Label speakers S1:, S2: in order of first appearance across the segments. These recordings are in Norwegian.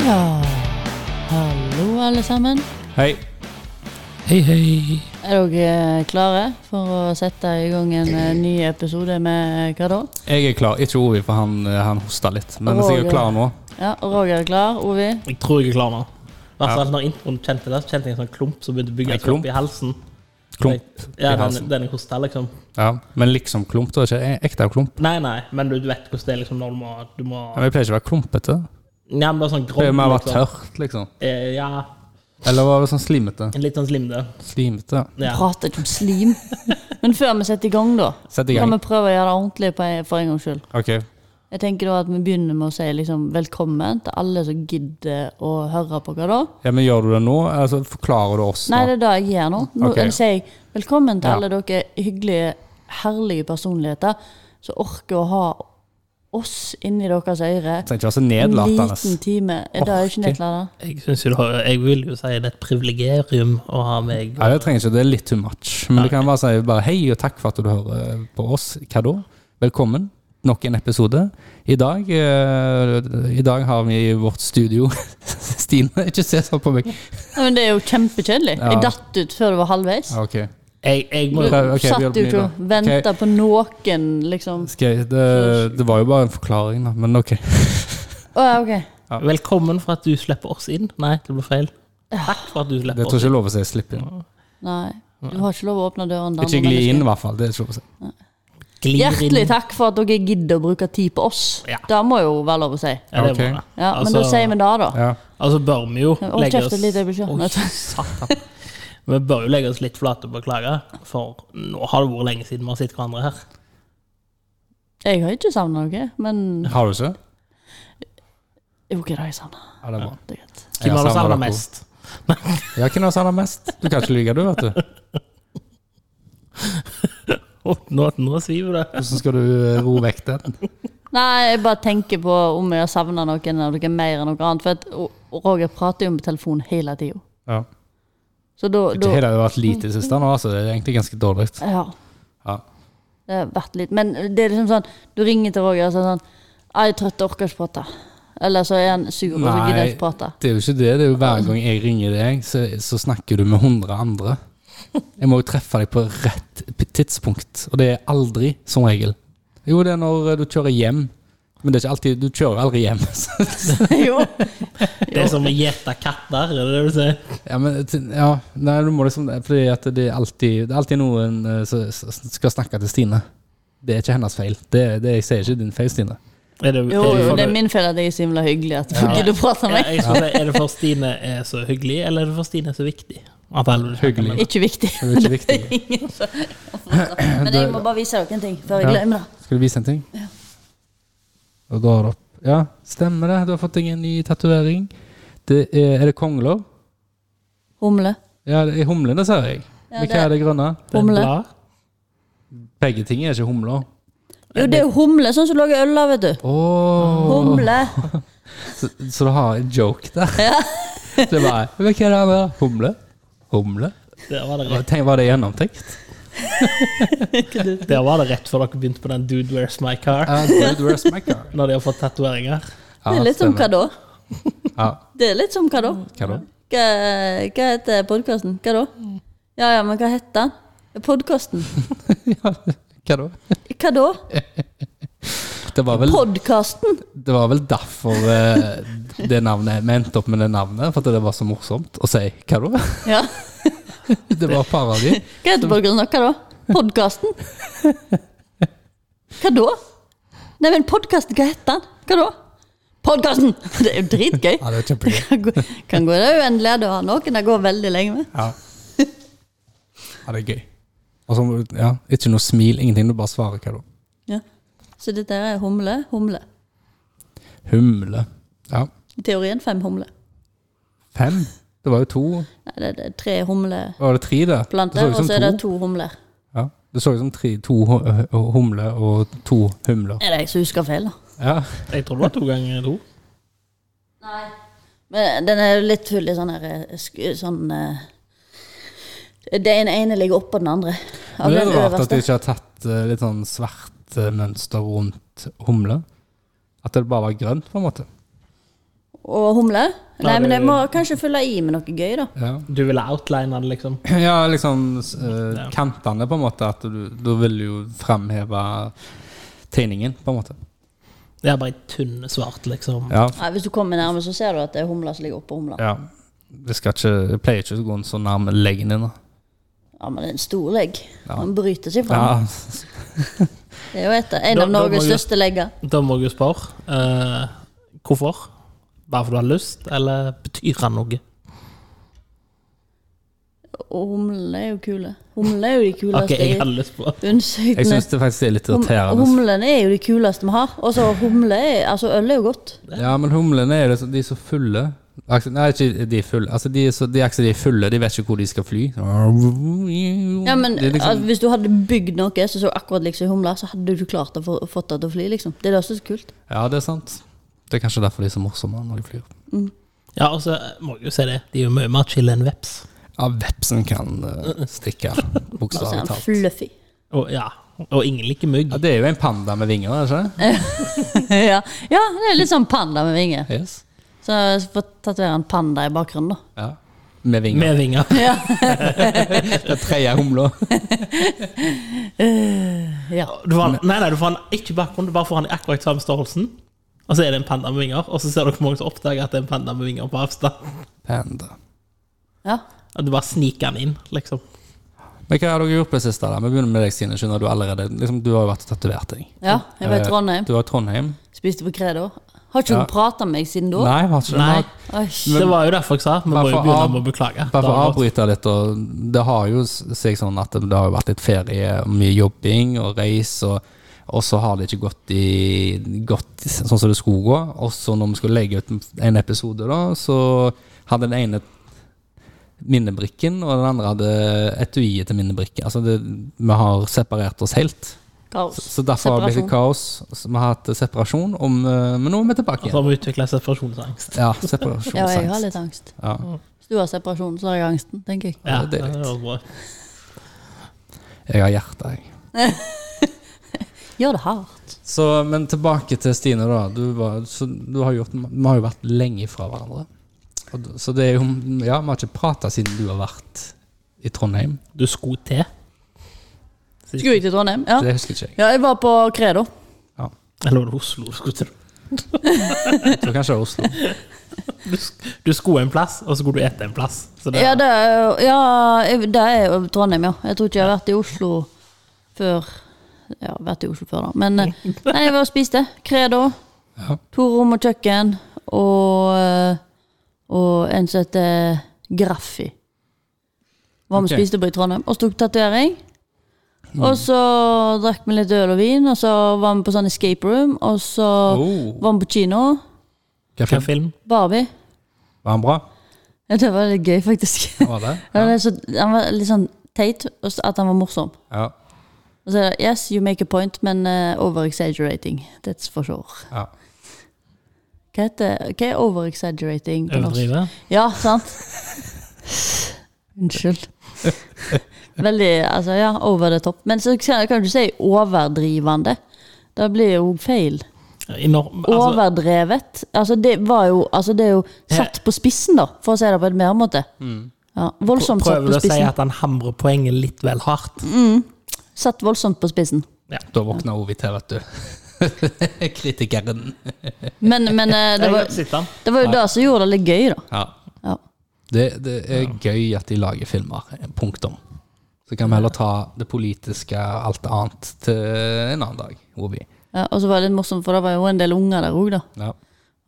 S1: Ja, hallo alle sammen.
S2: Hei.
S3: Hei, hei.
S1: Er dere eh, klare for å sette i gang en eh, ny episode med eh, hva da?
S2: Jeg er klar. Ikke Ovi, for han, eh, han hosta litt. Men
S1: Åh,
S2: hvis jeg
S1: ja.
S2: er klar nå
S1: Ja, og Roger er klar. Ovi?
S3: Jeg tror jeg er klar nå. I hvert
S2: Ja.
S3: fall når introen kjente det, så kjente jeg en sånn klump som begynte å bygge
S2: En
S3: seg
S2: klump?
S3: opp i halsen.
S2: Klump. i
S3: Ja, den,
S2: halsen.
S3: den jeg hosta, liksom.
S2: Ja. Men liksom klump, da. Ikke e- ekte klump.
S3: Nei, nei, men du, du vet hvordan det er liksom når du må, du må
S2: Ja, Men jeg pleier ikke å være klumpete.
S3: Ja, men bare sånn
S2: Jeg
S3: grovt.
S2: pleier mer å være
S3: liksom.
S2: tørt, liksom.
S3: Eh, Ja,
S2: Eller være sånn slimete.
S3: en litt sånn slimde.
S2: Slimete.
S3: Ja.
S1: Prater ikke om slim. Men før vi setter i gang, da,
S2: Sett i
S1: kan
S2: gang.
S1: vi prøve å gjøre det ordentlig på en, for en gangs skyld.
S2: OK.
S1: Jeg tenker da at vi begynner med å si liksom, velkommen til alle som gidder å høre på hva da.
S2: Ja, men gjør du det nå? Eller så forklarer du oss
S1: Nei,
S2: nå?
S1: det er det jeg gjør nå. Nå
S2: Ok.
S1: sier jeg velkommen til
S2: Ja.
S1: alle dere hyggelige, herlige personligheter som orker å ha oss inni deres ører.
S2: Trenger ikke være så
S1: En
S2: nedlatende.
S1: liten time. Er det jo ikke
S2: Orker.
S1: nedlatende?
S3: Jeg synes jo, det har- jeg vil jo si det er et privilegium å ha meg.
S2: Nei, det trenger ikke. Det er litt too much. Men du kan bare si bare hei og takk for at du hører på oss. Hva da? Velkommen. Nok en episode. I dag, eh, I dag har vi i vårt studio Stine, ikke se sånn på meg.
S1: Nei, men det er jo kjempekjedelig.
S2: Ja.
S1: Jeg datt ut før det var halvveis.
S2: Ja, Ok.
S3: Jeg, jeg må
S1: Du
S3: jo
S2: Ok, vi
S1: satt jo
S2: hjelper meg
S1: ikke
S2: da.
S1: og venta på noen, liksom.
S2: Skal jeg, det, det var jo bare en forklaring, da. Men ok.
S1: Å, ja, ok.
S3: Velkommen for at du slipper oss inn. Nei, det ble feil. Takk for at du
S2: Det
S3: slipper
S2: tror
S3: oss
S2: jeg ikke
S3: inn.
S2: er lov å si. Slipp inn.
S1: Nei. Du har ikke lov å åpne døren til
S2: Ikke
S1: andre
S2: gli inn, i
S1: mennesker.
S2: hvert fall. Det er ikke lov å si.
S3: Glir
S1: Hjertelig takk for at dere gidder å bruke tid på oss.
S3: Ja.
S1: Det må jo være lov å si.
S3: Ja, det
S2: Ok.
S3: må det.
S1: Ja, Men
S3: Altså-
S1: da sier vi det, da.
S2: Ja.
S3: Altså bør vi jo
S1: Ja, hold
S3: legge
S1: kjeft
S3: oss
S1: litt, jeg blir ikke-
S3: Oi, satan. Vi bør jo legge oss litt flate og beklage, for nå har det vært lenge siden vi har sett hverandre her.
S1: Jeg har ikke savna noe, men
S2: Har du ikke?
S1: Jo, hva er det jeg savner?
S2: Ja, det er bra.
S1: Det er greit.
S2: Jeg
S3: Hvem har du
S2: savner
S3: savna
S2: dere.
S3: mest?
S2: Ja, hvem har savna mest? Du kan ikke lyve, du, vet du.
S3: Å, Nå, nå sviver det.
S2: Hvordan skal du eh, ro vekk den?
S1: Nei, jeg bare tenker på om jeg har savna noen av dere mer enn noe annet. For at og- og Roger prater jo på telefon hele tida.
S2: Ja.
S1: Så da,
S2: Det
S1: da
S2: hele har vært lite i det siste nå, altså. Det er egentlig ganske dårlig.
S1: Ja.
S2: Ja.
S1: Det har vært litt Men det er liksom sånn Du ringer til Roger og sier sånn «Ah, 'Jeg er trøtt, jeg orker ikke prate'. Eller så er han sur og så gidder jeg ikke prate.
S2: det er jo ikke det. Det er jo hver gang jeg ringer deg, så, så snakker du med 100 andre. Jeg må jo treffe deg på rett p- tidspunkt, og det er aldri, som regel. Jo, det er når eh, du kjører hjem, men det er ikke alltid Du kjører aldri hjem. så-
S1: jo.
S3: Det er som å gjete katter. Er det det du sier?
S2: ja, men t- ja, nei, du må liksom Fordi at det er alltid, det er alltid noen eh, som som skal snakke til Stine. Det er ikke hennes feil. Det, det, jeg ser ikke din feil, Stine.
S3: Er det,
S1: jo,
S3: er det
S1: jo,
S3: for-
S1: det er min feil at jeg er så himla hyggelig at du
S3: Ja.
S1: gidder å prate med
S3: Ja,
S1: meg.
S3: jeg skulle si, er det for Stine er så hyggelig, eller er det for Stine er så viktig? At alle vil snakke
S2: Hyggelig.
S3: med henne?
S1: Ikke viktig.
S2: Det er jo ikke viktig.
S1: Ingen som- Men jeg må bare vise dere en ting før jeg
S2: Ja.
S1: glemmer det.
S2: Skal du vise en ting? Ja. Og da har du opp. Ja, stemmer det. Du har fått deg en ny tatovering. Det er, er det kongler?
S1: Humle.
S2: Ja, det er humlene, ser jeg.
S1: Ja,
S2: Men
S1: det-
S2: hva er det grønne?
S3: Det er
S1: Humle.
S3: bra.
S2: Begge ting er ikke humler.
S1: Jo, det er jo humle, sånn som lager øl av, vet du.
S2: Åh,
S1: Humle.
S2: så, så du har en joke der?
S1: Ja.
S2: Det var, men hva er det andre? Humle? Humle?
S3: Der var det rett,
S2: Tenk, var det gjennomtenkt?
S3: der var det rett før dere begynte på den Dude Where's My Car.
S2: Ja, dude, where's my car?
S3: Når de har fått tatoveringer.
S1: Det er litt som hva
S2: stemmer.
S1: da?
S2: Ja,
S1: Det er litt som hva da?
S2: hva da?
S1: Hva, hva heter podkasten? Hva da? Ja ja, men hva heter den? Podkasten?
S2: Hva da?
S1: Hva da?
S2: Det var vel,
S1: Podkasten?
S2: det var vel derfor eh, det navnet, vi endte opp med det navnet, for at det var så morsomt å si hva da?
S1: Ja.
S2: Det var parodi.
S1: Hva heter podkasten? Hva da? Podkasten? Hva da? Nei, men podkasten, hva heter den? Hva da? Podkasten! Det er jo dritgøy.
S2: Ja, det er kjempegøy.
S1: Kan gå, kan gå i det uendelige. Du har noen jeg går veldig lenge med.
S2: Ja. ja, det er gøy. Og så, må du- ja, ikke noe smil, ingenting. Du bare svarer hva da.
S1: Ja. Så dette er humle, humle.
S2: Humle. Ja.
S1: I teorien fem humler.
S2: Fem? Det var jo to.
S1: Nei, det det er tre humleplanter,
S2: Var det tre, det? det
S1: og så er det to humler.
S2: Ja. Det så ut som tre, to hu- hu- humler og to humler.
S1: Er det jeg som husker feil, da?
S2: Ja.
S3: Jeg tror det var to ganger to.
S1: Nei. Men den er jo litt full i sånn her eh, sk- sånn eh, Den ene ligger oppå den andre. Av
S2: Men det
S1: den
S2: er rart at
S1: øverste.
S2: de ikke har tatt eh, litt sånn svart eh, mønster rundt humle. At det bare var grønt, på en måte.
S1: og humle. Nei,
S3: Nei,
S1: men jeg
S3: det-
S1: må kanskje fylle i med noe gøy, da.
S2: Ja.
S3: Du ville outline det, liksom?
S2: Ja, liksom eh, kantene, på en måte. At du, da vil du jo fremheve tegningen, på en måte.
S3: Det er bare i tynn svart, liksom.
S2: Ja.
S1: Nei, hvis du kommer nærme, så ser du at det er humla som ligger oppå humla.
S2: ja. Det skal ikke, jeg pleier ikke å gå så nærme leggen din. da.
S1: Ja, men det er en stor legg.
S2: Ja.
S1: Den bryter seg fram.
S2: Ja.
S1: Det er jo et, en
S3: Da-
S1: av
S3: da må
S1: Norges
S3: jeg-
S1: største legger.
S3: Da må jeg jo spørre eh, hvorfor? Bare fordi du har lyst, eller betyr han noe?
S1: Og humlene er jo kule. Humlene er jo de
S3: Ok,
S1: kuleste
S3: jeg hadde lyst på
S1: i bunnsytene.
S2: Jeg syns det faktisk er litt
S1: Hum-
S2: irriterende.
S1: Humlene er jo de kuleste vi har. Og så humle er, altså øl er jo godt.
S2: Ja, men humlene er jo det, så- de er så fulle. Altså, Nei, ikke de er fulle. Altså, de er, så, de er ikke så de er fulle, de vet ikke hvor de skal fly.
S1: Ja, men
S2: Det er liksom-
S1: altså, Hvis du hadde bygd noe som så akkurat liksom ei humle, så hadde du klart å få fått det til å fly, liksom. Det er det som er så kult.
S2: ja, det er sant. Det er kanskje derfor de er så morsomme når de flyr.
S3: Ja, og så må jeg jo si det. De er jo mye mer chille enn veps.
S2: Ja, vepsen kan eh, stikke,
S1: Altså,
S2: bokstavelig
S1: han
S2: talt.
S1: fluffy.
S3: Og, ja. og ingen liker mygg.
S2: Ja, det er jo en panda med vinger, er det ikke?
S1: ja. ja, det er litt sånn panda med vinger.
S2: det? Yes.
S1: Så jeg får tatovere en panda i bakgrunnen, da.
S2: Ja. Med vinger.
S3: Med vinger.
S2: Den tredje humla.
S1: Ja.
S3: Du får han, nei, nei, du får han ikke i bakgrunnen, du bare får han i akkurat samme størrelsen. Og så er det en panda med vinger, og så ser dere mange som oppdager at det er en panda med vinger på avstand.
S2: Panda.
S1: ja.
S3: Og du bare sniker han inn, liksom.
S2: Men hva har dere gjort på det siste? da? Vi begynner med deg, Stine. Skjønner du allerede liksom, Du har jo vært og tatovert deg.
S1: Ja, jeg var i
S2: Eh,
S1: Trondheim.
S2: Du var i Trondheim?
S1: Spiste på Credo. Har ikke hun
S2: Ja.
S1: prata med meg siden da?
S2: Nei, har ikke
S3: Nei.
S1: Oi,
S3: Det var jo derfor jeg sa vi må
S2: Bare
S3: jo
S2: for
S3: begynne
S2: av-
S3: med å beklage.
S2: Bare
S3: Det
S2: for å
S3: har gått-
S2: avbryte litt, og det har jo s- seg sånn at det har jo vært litt ferie, og mye jobbing og reis, og, og så har det ikke gått, i, gått sånn som det skulle gå. Og så når vi skulle legge ut en episode, da, så hadde den ene minnebrikken, og den andre hadde etuiet til minnebrikken. Altså det, vi har separert oss helt.
S1: kaos.
S2: Så derfor har det blitt
S1: Separasjon. Altså-
S2: et kaos. Så vi har hatt separasjon, om, eh, men nå er vi tilbake
S3: Og så
S2: igjen.
S3: har vi utvikla separasjonsangst.
S2: Ja,
S1: Ja, jeg har
S2: separasjonsangst.
S1: litt angst.
S2: Ja.
S1: Hvis du har separasjon, så har jeg angsten, tenker jeg.
S3: Ja,
S2: det
S3: det
S2: er riktig.
S3: var bra.
S2: Jeg har hjertet, jeg.
S1: Gjør det hardt.
S2: Så, men tilbake til Stine, da. Du, var, så, du har gjort, vi har jo vært lenge fra hverandre. Og, du- så det er jo Ja, vi har ikke prata siden du har vært i Trondheim.
S3: Du skulle til.
S1: Skulle jeg til Trondheim? Ja.
S2: Det husker ikke jeg.
S1: ja, jeg var på Credo.
S2: Ja.
S3: Eller var det Oslo? du Skulle til.
S2: Jeg tror kanskje det er Oslo.
S3: Du, sk- du skulle en plass, og så skulle du ete en plass. Så det,
S1: Ja, det er, jo- ja, jeg- det er jo Trondheim, ja. Jeg tror ikke jeg har vært i Oslo før Ja, vært i Oslo før, da. Men eh, nei, jeg var og spiste. Credo.
S2: Ja.
S1: To rom og kjøkken. Og, eh, og en som heter Graffi. Var med og
S2: Ok. Mm.
S1: spiste på i Trondheim. Og så tok tatovering. Og så drakk vi litt øl og vin, og så var vi på sånn escape room. Og så
S2: Oh.
S1: var vi på kino.
S3: Hvilken
S2: Kaffe.
S3: film?
S1: Barbie.
S2: Var han bra?
S1: Ja, det var litt gøy, faktisk.
S2: Var det?
S1: Ja. men det er så, han var litt sånn teit, og så at han var morsom.
S2: Ja.
S1: Og så er det, yes, you make a point, men eh, over-exaggerating. That's for sure.
S2: ja.
S1: Hva, heter, hva er over-exaggerating på norsk?
S3: Overdrive?
S1: Ja, sant? Unnskyld. Veldig, altså, ja, over the top. Men så kan kan du si overdrivende. Det blir jo feil.
S3: I Nor altså,
S1: Overdrevet. Altså, det var jo Altså, det er jo satt på spissen, da, for å si det på en mer måte. Ja, voldsomt satt
S3: Mm. prøver du
S1: på
S3: å si
S1: spissen.
S3: at han hamrer poenget litt vel hardt?
S1: Satt voldsomt på spissen.
S2: Da våkna Ovi til, vet du. Kritikeren.
S1: Men, men eh, det
S3: Jeg
S1: var
S3: kan sitte han.
S1: Det var jo det som gjorde det litt gøy, da.
S2: Ja.
S1: Ja.
S2: Det, det er gøy at de lager filmer. Punktum. Så kan vi heller ta det politiske og alt annet til en annen dag, Ovi.
S1: Ja, og så var det litt morsomt, for det var jo en del unger der òg, da.
S2: Ja.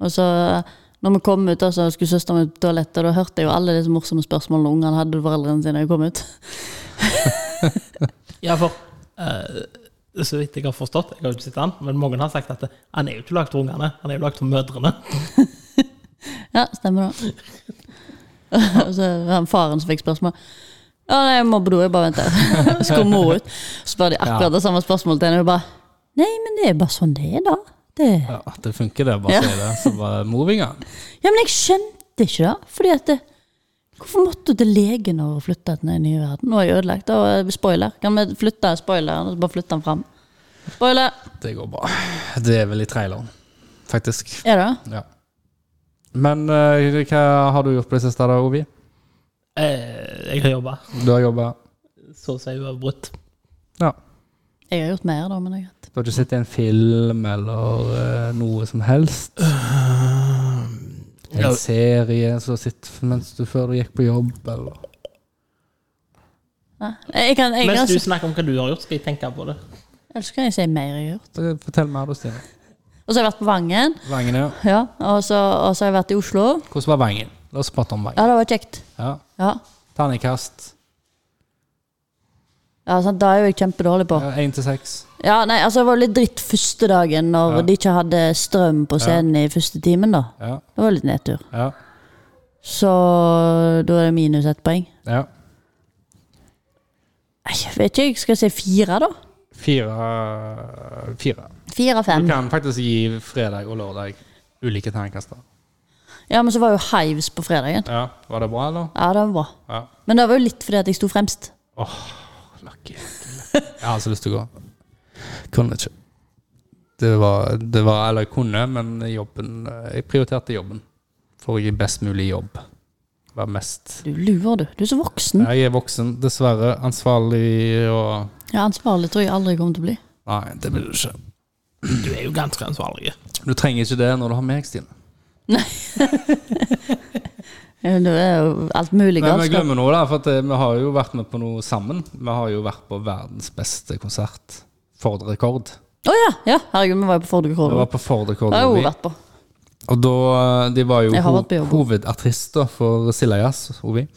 S1: Og så eh, når vi kom ut, da, så skulle søsteren min på toalettet, og da hørte jeg jo alle disse morsomme spørsmålene ungene hadde til foreldrene sine da jeg kom ut.
S3: Ja, for eh, så vidt jeg har forstått, jeg har jo ikke sett han, men mange har sagt at det- han er jo ikke lagd for ungene, han er jo lagd for mødrene.
S1: Ja, stemmer det. og så var det faren som fikk spørsmål. Ja, nei, jeg må på do, jeg bare venter. så kom mor ut, så spør de akkurat det samme spørsmålet til henne, og hun bare Nei, men det er bare sånn det er, da. Det...
S2: Ja, at det funker, det. Bare
S1: Ja.
S2: si det. Så bare moving on.
S1: Ja, men jeg skjønte ikke det, fordi at det, Hvorfor måtte du til legen og flytte til den nye verden? Nå er jeg ødelagt. Og spoiler. Kan vi flytte spoileren og så bare flytte den fram? Spoiler!
S2: Det går bra. Det er vel i traileren, faktisk.
S1: Er det?
S2: Ja. Men eh, hva har du gjort på det siste, da, Ovi?
S3: Eh, jeg har jobba
S2: Du har jobba
S3: så å si uavbrutt.
S2: Ja.
S1: Jeg har gjort mer, da, men det er greit.
S2: Du har ikke sett en film eller eh, noe som helst? En
S3: ja.
S2: serie som du har sett mens du før du gikk på jobb, eller
S1: Nei, Jeg, kan, jeg,
S3: Mens
S1: kan,
S3: du
S1: jeg,
S3: snakker om hva du har gjort, skal jeg tenke på det.
S1: ellers kan jeg si mer jeg har gjort.
S2: Så Fortell mer, da, Stine.
S1: Og så har jeg vært på Vangen.
S2: Vangen, ja.
S1: Ja, og så, og så har jeg vært i Oslo.
S2: Hvordan var Vangen? La oss prate om Vangen.
S1: Ja, det var kjekt.
S2: Ja.
S1: Ja,
S2: Terningkast
S1: ja sant, Da er jo jeg kjempedårlig på.
S2: ja, én til seks.
S1: Ja, nei, altså Det var litt dritt første dagen når
S2: Ja.
S1: de ikke hadde strøm på scenen i første timen. da
S2: Ja.
S1: Det var litt nedtur.
S2: Ja.
S1: Så da er det minus ett poeng.
S2: ja.
S1: Nei, Jeg vet ikke, jeg skal si fire, da.
S2: Fire Fire.
S1: Fire av
S2: Du
S1: fem.
S2: kan faktisk gi fredag og lørdag ulike terningkaster.
S1: Ja, Men så var jo Hives på fredagen.
S2: Ja. Var det bra, eller?
S1: Ja, det var bra.
S2: Ja.
S1: Men det var jo litt fordi at jeg sto fremst.
S2: Lucky. Jeg har så lyst til å gå. Kunne ikke. Det var, det var Eller jeg kunne, men jobben Jeg prioriterte jobben for å gi best mulig jobb. Være mest
S1: Du lurer, du. Du er så voksen.
S2: Jeg er voksen, dessverre. Ansvarlig og
S1: Ja, Ansvarlig tror jeg aldri jeg kommer til å bli.
S2: Nei, det blir du ikke.
S3: Du er jo ganske ansvarlig.
S2: Du trenger ikke det når du har meg, Stine.
S1: Eh, Det er jo alt mulig
S2: Men vi
S1: galskap.
S2: glemmer noe, da. For at eh, vi har jo vært med på noe sammen. Vi har jo vært på verdens beste konsert. Ford Rekord.
S1: Å ja, ja! Herregud, vi var jo på Fordre
S2: Vi
S1: Krohn.
S2: var på Ford Rekord.
S1: Det har jeg
S2: Ovi.
S1: også vært på.
S2: Og da, eh, de var jo
S1: Jeg har
S2: ho
S1: vært på jobb.
S2: hovedartister for Silla Jazz, Ovi.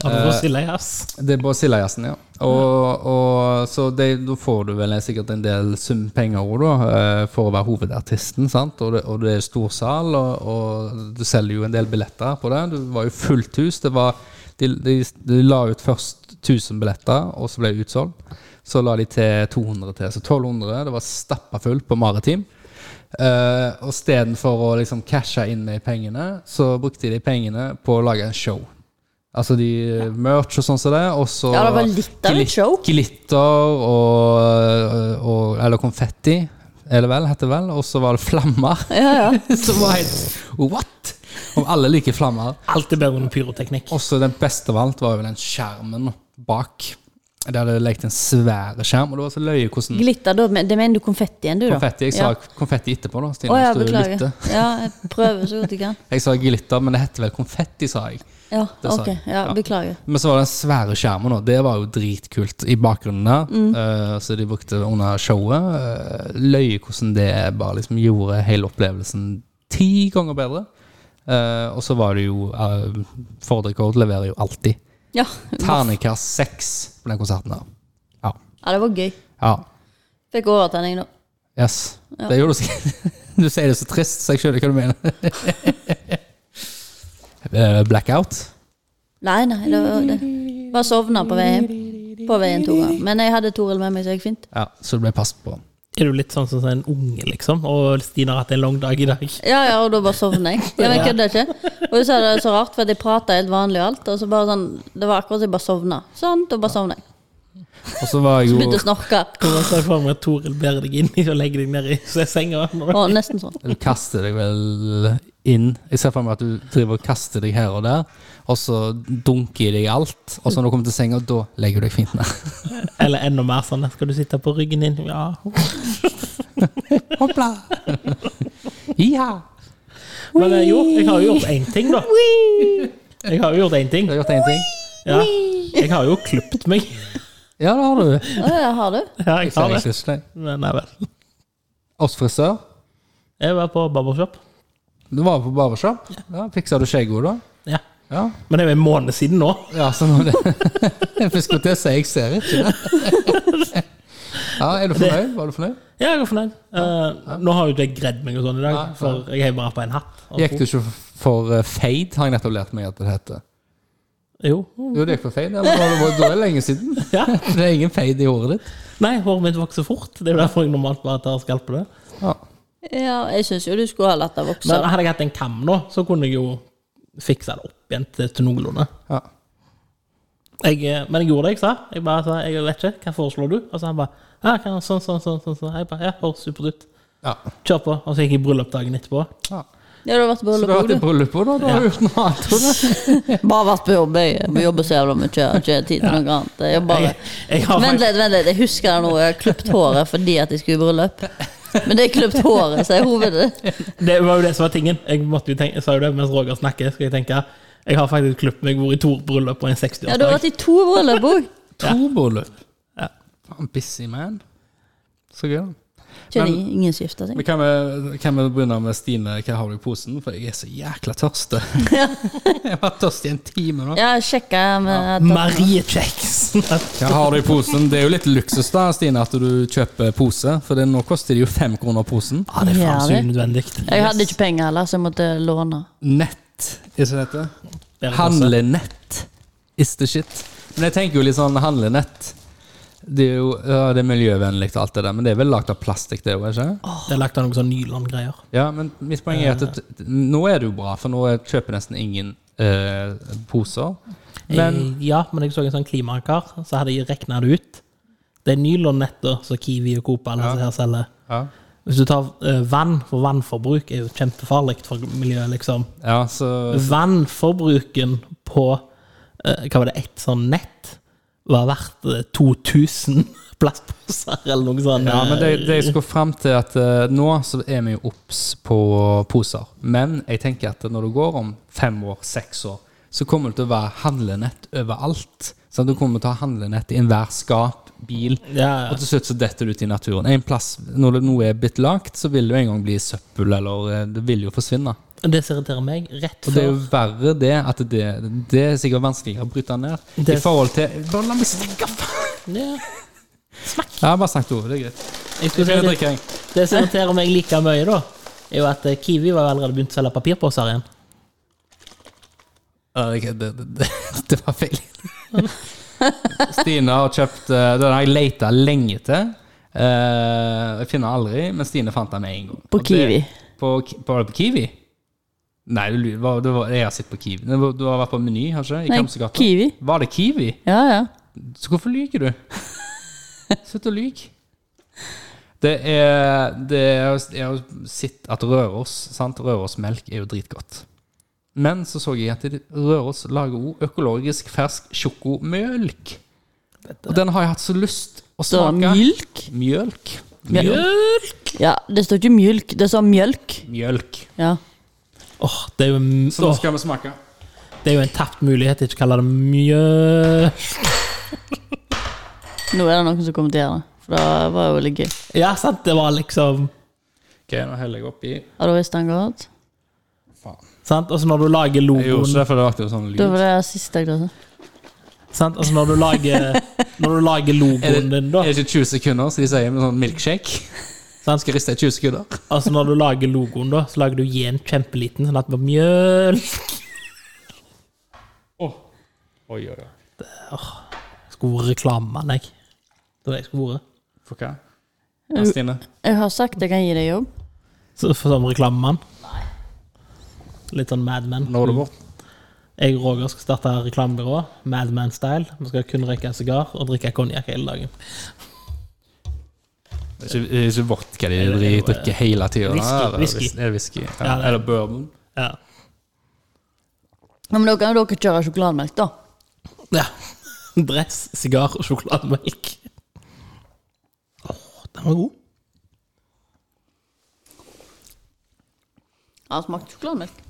S3: Har du fått stille, ass?
S2: Det er på Silla Jazzen, ja. Og, og, så det, da får du vel sikkert en del sum penger òg, da, eh, for å være hovedartisten. sant? Og det, og det er stor sal, og, og du selger jo en del billetter på det. Det var jo fullt hus. det var, De, de, de la ut først 1000 billetter, og så ble det utsolgt. Så la de til 200 til, så 1200. Det var stappa fullt på Maritim. Eh, og istedenfor å liksom cashe inn de pengene, så brukte de pengene på å lage en show. Altså de merch og sånn som det, og så
S1: Ja, det var litt av et
S2: glit-
S1: show.
S2: Glitter og, eh, og Eller konfetti, er det vel, heter det vel. Og så var det flammer.
S1: Ja, ja.
S2: som var helt What?! Om alle liker flammer.
S3: Alt er bedre enn pyroteknikk.
S2: Også den beste av alt var jo den skjermen bak. De hadde lekt en svær skjerm, og det var så løye hvordan
S1: Glitter, da, men- det mener du konfettien, du, da?
S2: Konfetti. Jeg sa konfetti etterpå, da. Stine,
S1: Å ja,
S2: hvis du
S1: beklager.
S2: lytter.
S1: Ja, jeg prøver så godt jeg kan.
S2: Jeg sa glitter, men det heter vel konfetti, sa jeg.
S1: Ja,
S2: Det sa
S1: ok.
S2: jeg.
S1: Ja,
S2: Ja.
S1: beklager.
S2: Men så var det den svære skjermen, og det var jo dritkult i bakgrunnen der. eh, så de brukte under showet. eh, løye hvordan det bare liksom gjorde hele opplevelsen ti ganger bedre. Eh, og så var det jo uh, Ford Record leverer jo alltid.
S1: Ja.
S2: Terningkast seks på den konserten her. Ja.
S1: ja, det var gøy.
S2: ja.
S1: Fikk overtenning nå.
S2: Yes. Det gjorde du sikkert. Du sier det så trist, så jeg skjønner hva du mener. Eh, Blackout?
S1: Nei, nei, det var det. Bare sovna på vei hjem. På veien to ganger. Men jeg hadde Toril med meg, så jeg gikk fint.
S2: Ja, så det ble passet på.
S3: Er du litt sånn som en unge, liksom? Og Stine har hatt en lang dag i dag.
S1: Ja, ja, og da bare sovna jeg. Ja, men Jeg kødder ikke. Og hun sa det så rart, for at jeg prata helt vanlig og alt. Og så bare sånn, Det var akkurat som jeg bare sovna. Sånn, da bare sovna jeg.
S2: Og så var jeg jo
S1: Begynte å snorke.
S3: Hvordan ser jeg for meg at Toril bærer deg inn i og legger deg ned i senga?
S1: Og nesten sånn.
S2: Du kaster deg vel inn. Jeg ser for meg at du driver og kaster deg her og der, og så dunker i deg alt. Og så når du kommer til senga, da legger du deg fint ned.
S3: Eller enda mer sånn Skal du sitte på ryggen din? Ja.
S2: Hoppla! Iha!
S3: Men eh, jo, jeg har jo gjort én ting, da. Jeg har jo gjort én ting.
S2: Du har gjort én ting?
S3: Ja. Jeg har jo klipt meg.
S2: Ja, det har du.
S1: Å ja, har du?
S3: Ja, jeg har det.
S2: Seriøst, nei.
S3: Men nei vel.
S2: Oss frisør.
S3: Jeg var på barbershop.
S2: Du var på barbershop. Ja, Fiksa du skjegget da?
S3: Ja.
S2: Ja.
S3: Men det er jo en måned siden nå.
S2: ja, så nå det Jeg skulle til å si jeg ser ikke det. Ja, Er du fornøyd? Var du fornøyd?
S3: Ja, jeg er fornøyd. Eh, nå har jo ikke jeg gredd meg og sånn i dag,
S2: Nei,
S3: for jeg har bare på en hatt. og
S2: Gikk du ikke for eh, fade, har jeg nettopp lært meg at det heter.
S3: Jo.
S2: Jo, det gikk for fade. Eller var det, var det, var det lenge siden?
S3: Ja.
S2: Det er ingen fade i håret ditt.
S3: Nei, håret mitt vokser fort. Det er jo derfor jeg normalt bare tar skalp på det.
S2: Ja.
S1: Ja, jeg syns jo du skulle ha latt det vokse.
S3: Men hadde jeg hatt en kam nå, så kunne jeg jo fiksa det opp igjen til, til noenlunde.
S2: Ja.
S3: Jeg, eh, men jeg gjorde det jeg sa. Jeg bare sa jeg vet ikke, hva foreslår du? Og så han bare ja, kan, sånn, sånn, sånn, sånn, sånn. Jeg bare, ja, høres supert ut.
S2: Ja.
S3: Kjør på. Og så gikk jeg i bryllup dagen etterpå.
S2: Ja.
S1: Ja, du har vært på
S2: Så du har vært i
S1: bryllup òg,
S2: bryllupet, da? Da har du gjort noe annet. tror du?
S1: du. Bare vært på jobb. Jeg Jeg jobber så jævla mye. Jeg har ikke tid til noe annet. Jeg bare...
S3: Jeg, jeg har
S1: Vent
S3: faktisk
S1: litt, vent litt. Jeg husker det nå. Jeg har klippet håret fordi at jeg skulle i bryllup. Men det er klippet håret, så er hovedet.
S3: Det var jo det som var tingen. Jeg måtte jo tenke, jeg sa jo det mens Roger snakker. Skal jeg tenke Jeg har faktisk klippet meg hvor i to bryllup og en
S1: Ja, du har
S3: 60-årsdag.
S1: vært i to bryllup òg.
S2: To bryllup.
S3: Ja.
S2: Faen, busy man. Så gøy, da.
S1: Kjenner ingen skifter
S2: Men
S1: seg.
S2: kan vi, kan vi begynne med Stine, hva har du i posen? For jeg er så jækla tørst. jeg har vært tørst i en time nå.
S1: Ja, sjekka med
S3: Marie Kjeks.
S2: Hva har du i posen? Det er jo litt luksus da, Stine, at du kjøper pose. For det, nå koster det jo fem kroner posen.
S3: Ja, det er faen så
S1: Jævlig.
S3: unødvendig.
S1: Jeg hadde ikke penger heller, så jeg måtte låne.
S2: Nett, er det som det heter?
S3: Bedre pose.
S2: Handlenett is the shit. Men jeg tenker jo litt sånn handlenett. Det er jo ja, det er miljøvennlig og alt det der, men det er vel lagd av plastikk, det òg, ikke
S3: Det er lagt av noen sånn nylongreier.
S2: Ja, men mitt poeng er at det, nå er det jo bra, for nå kjøper nesten ingen eh, poser. Men
S3: Eh, ja, men jeg så en sånn klimakar, så hadde jeg regna det ut. Det er nylonnetter som Kiwi og Coop alle disse her selger.
S2: ja.
S3: Hvis du tar eh, vann, for vannforbruk er jo kjempefarlig for miljøet, liksom.
S2: Ja, så
S3: Vannforbruken på eh, hva var det, ett sånn nett var verdt eh, 2000 plastposer eller noe sånt.
S2: Ja, men det,
S3: eh,
S2: det jeg skulle fram til at eh, nå så er vi jo obs på poser. Men jeg tenker at når du går om fem år, seks år, så kommer det til å være handlenett overalt. Så du kommer til å ha handlenett i enhver skap, bil.
S3: ja,
S2: Og til slutt så detter du ut i naturen. En plass, når det noe er blitt lagt, så vil det jo en gang bli søppel, eller eh, det vil jo forsvinne.
S3: Det som irriterer meg, rett
S2: Og det er jo
S3: før
S2: verre det at det, det er sikkert vanskeligere å bryte ned. I
S3: Det-
S2: forhold til Bare la meg snakke!
S3: ja. Snakk!
S2: Ja, bare snakk, du. Det er greit. Det
S3: Jeg skulle si
S2: er
S3: det.
S2: drikking.
S3: Det som irriterer meg like mye, da, er jo at eh, Kiwi var jo allerede begynt å selge papirposer igjen.
S2: Ja, Det, det, det, det var feil. Stine har kjøpt eh, Den har jeg leita lenge til. Eh, Jeg finner den aldri, men Stine fant den med en gang.
S1: På
S2: Og det-
S1: Kiwi.
S2: På, Ki- var det på Kiwi? Nei, du, lu- hva- det var, jeg har sett på Kiwi. Det var- Du har vært på Meny, har du ikke? I
S1: Nei,
S2: Kamsegata.
S1: Kiwi.
S2: Var det Kiwi?
S1: Ja, ja.
S2: Så hvorfor lyver du? Slutt å lyve. Det er, det er Jeg har jo sett at Røros sant? Rørosmelk er jo dritgodt. Men så så jeg at de- Røros lager òg økologisk fersk sjokomjølk. Og den har jeg hatt så lyst å
S1: Så
S2: smake.
S1: mjølk?
S2: Mjølk.
S3: Mjølk!
S1: Ja, det står ikke mjølk, det står mjølk.
S2: Mjølk.
S1: Ja.
S3: Åh, det, er jo,
S2: Så nå
S3: åh,
S2: skal vi smake.
S3: det er jo en tapt mulighet til ikke å kalle det mjølk.
S1: Nå er det noen som kommer til å gjøre det. For det var jo veldig gøy.
S3: Ja, sant, det var liksom
S2: Ok, Nå heller jeg oppi.
S1: Ja, da visste han godt.
S2: Faen.
S3: Sant? Og så når du lager
S2: Jeg gjorde ikke
S3: logoen
S2: det, for det var akkurat sånn
S1: Da var
S2: lyd.
S1: det siste jeg klarte.
S3: sant? Og så når du lager, når du lager
S2: Er det,
S3: logoen din, da
S2: er det ikke 20 sekunder, som de sier med sånn milkshake?
S3: sant?
S2: Skal riste i 20 sekunder.
S3: Altså når du lager logoen, da, så lager du J-en kjempeliten, sånn at det blir mjølk.
S2: Oi, oi, oi.
S3: Skulle vært reklamemann, jeg. Det var det jeg skulle vært.
S2: For hva? Ja, Stine?
S1: Jeg har sagt jeg kan gi deg jobb.
S3: Så- for Som reklamemann. Litt sånn Mad Men.
S2: Nå er det bort.
S3: Jeg og Roger skal starte reklamebyrå, Madman-style. Vi skal kun røyke sigar og drikke konjakk hele dagen.
S2: Det er ikke, det er ikke vodka de dri- drikker hele tida.
S3: Whisky, whisky.
S2: Er det whisky? Ja,
S3: Ja, det er-
S2: Eller bourbon?
S3: Ja.
S1: Ja, men da kan jo dere kjøre sjokolademelk, da.
S3: ja. Dress, sigar og sjokolademelk. Åh, den var god.
S1: Ja, det smakte sjokolademelk.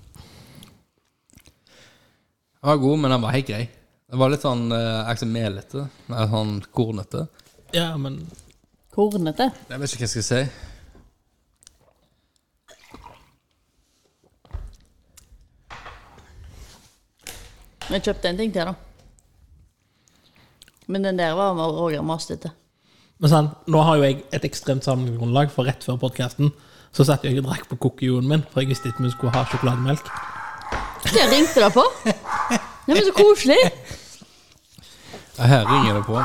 S2: Den var god, men den var helt grei. Den var litt sånn eh, ikke så melete. Eller sånn kornete.
S3: Ja, men
S1: Kornete.
S2: Jeg vet ikke hva jeg skal si.
S1: Jeg kjøpte en ting til, da. Men den der var med Roger maste etter.
S3: Men sånn, nå har jo jeg et ekstremt sammenhengende for rett før podkasten så satt jeg og drakk på kokioen min, for jeg visste ikke vi skulle ha sjokolademelk.
S1: Det ringte det på! Nei, men så koselig!
S2: Ja, Her ringer det på.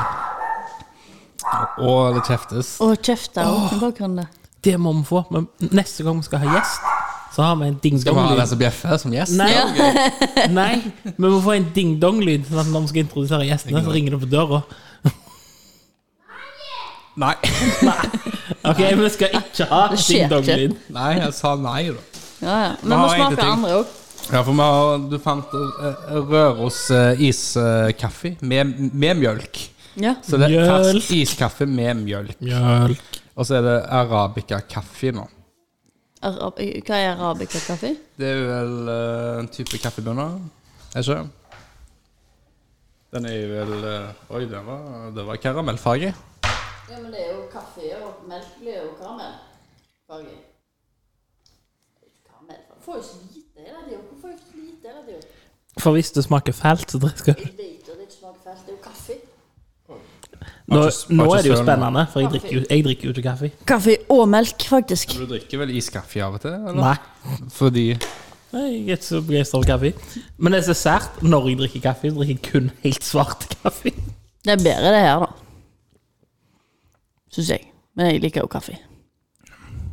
S2: Og det kjeftes.
S1: Å, kjefta i bakgrunnen der.
S3: Det må vi få. Men neste gang vi skal ha gjest, så har vi en
S2: Skal vi ha den
S3: ding-dong-lyd.
S2: som bjeffer som gjest?
S3: Nei, nei, vi må få en ding-dong-lyd, sånn at når vi skal introdusere gjestene, så ringer det på døra.
S2: Nei.
S3: Ok, vi skal ikke ha
S1: Det skjer ikke.
S3: ding-dong-lyd.
S2: Nei, jeg sa nei, da.
S1: Ja, ja.
S2: Vi
S1: Men vi
S2: har en til
S1: smaker
S2: ting.
S1: andre òg.
S2: Ja, for vi har, du fant eh, Røros eh, iskaffe med, med mjølk.
S1: Ja.
S2: Så det er fersk
S3: Mjølk.
S2: iskaffe med mjølk.
S3: Mjølk.
S2: Og så er det arabica kaffe nå.
S1: Arab Hva er arabica-kaffe?
S2: Det er vel eh, en type kaffebønner, er det ikke? Den er jo vel eh, Oi, det var, det var karamellfarge.
S1: Ja, men det er jo kaffe og melk blir jo karamellfarge. Karamellfarge Får jo så lite i det, Hvorfor får jo så lite i det?
S3: For hvis det smaker fælt, så drikker jeg
S1: Jeg vet jo det ikke smaker fælt. Det er jo kaffe.
S2: Har
S3: nå,
S2: ikke-
S3: nå
S2: har ikke
S3: er det jo
S2: søren.
S3: spennende, for jeg drikker, jo- jeg drikker jo ikke kaffe.
S1: Kaffe og melk, faktisk.
S2: Du drikker vel iskaffe av og til? Eller?
S3: Nei.
S2: Fordi
S3: Nei, Jeg er ikke så begeistra for kaffe. Men det er så sært når jeg drikker kaffe. Jeg drikker kun helt svart kaffe.
S1: Det er bedre, det her, da. Syns jeg. Men jeg liker jo kaffe.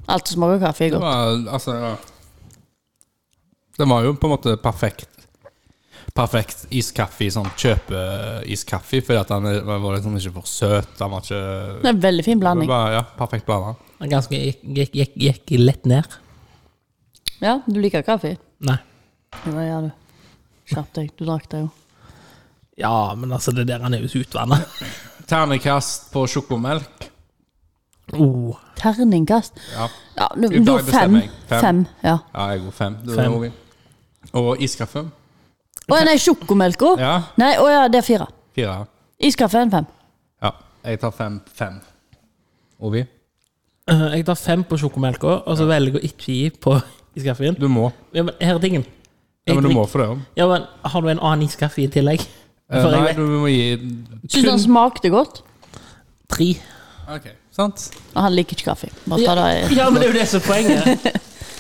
S1: Alt som smaker kaffe, er godt.
S2: det var, altså, ja. Den var jo på en måte perfekt. Perfekt iskaffe, sånn kjøpeiskaffe, fordi at den er- var liksom ikke for søt. Den var ikke
S1: Det er en veldig fin
S2: det
S1: blanding.
S2: var, Ja, perfekt blanda.
S3: Den Ganske gikk, gikk, gikk, gikk lett ned.
S1: Ja, du liker kaffe?
S3: Nei.
S1: Ja, det gjør du. Skjerp deg. Du drakk det jo.
S3: Ja, men altså, det der han er jo så utvanna.
S2: Ternekast på sjokomelk.
S3: Oh,
S1: Terningkast.
S2: Ja,
S1: Ja, nå,
S2: I
S1: da
S2: dag
S1: fem.
S2: bestemmer jeg. Fem.
S1: Fem. Ja.
S2: ja jeg går fem. Det
S3: Fem.
S2: var Ovi. Og iskaffe.
S1: Å nei, sjokomelka?
S2: Ja,
S1: Nei, å ja, det er fire.
S2: fire.
S1: Iskaffe er en fem.
S2: Ja, jeg tar fem. Fem. Ovi,
S3: Eh, jeg tar fem på sjokomelka, og så velger jeg å ikke gi på iskaffen.
S2: du må.
S3: Ja, men her er tingen.
S2: Ja, men du
S3: Jeg
S2: må
S3: drikker-
S2: få det om.
S3: Ja, men Har du en annen iskaffe i tillegg?
S2: Eh,
S3: For jeg
S2: Nei,
S3: vet-
S2: du må gi
S1: Syns han smakte godt?
S3: Tre.
S2: Ok, sant?
S1: Og han liker ikke kaffe. Bare ta det i-
S3: Ja, men det er jo det som er poenget.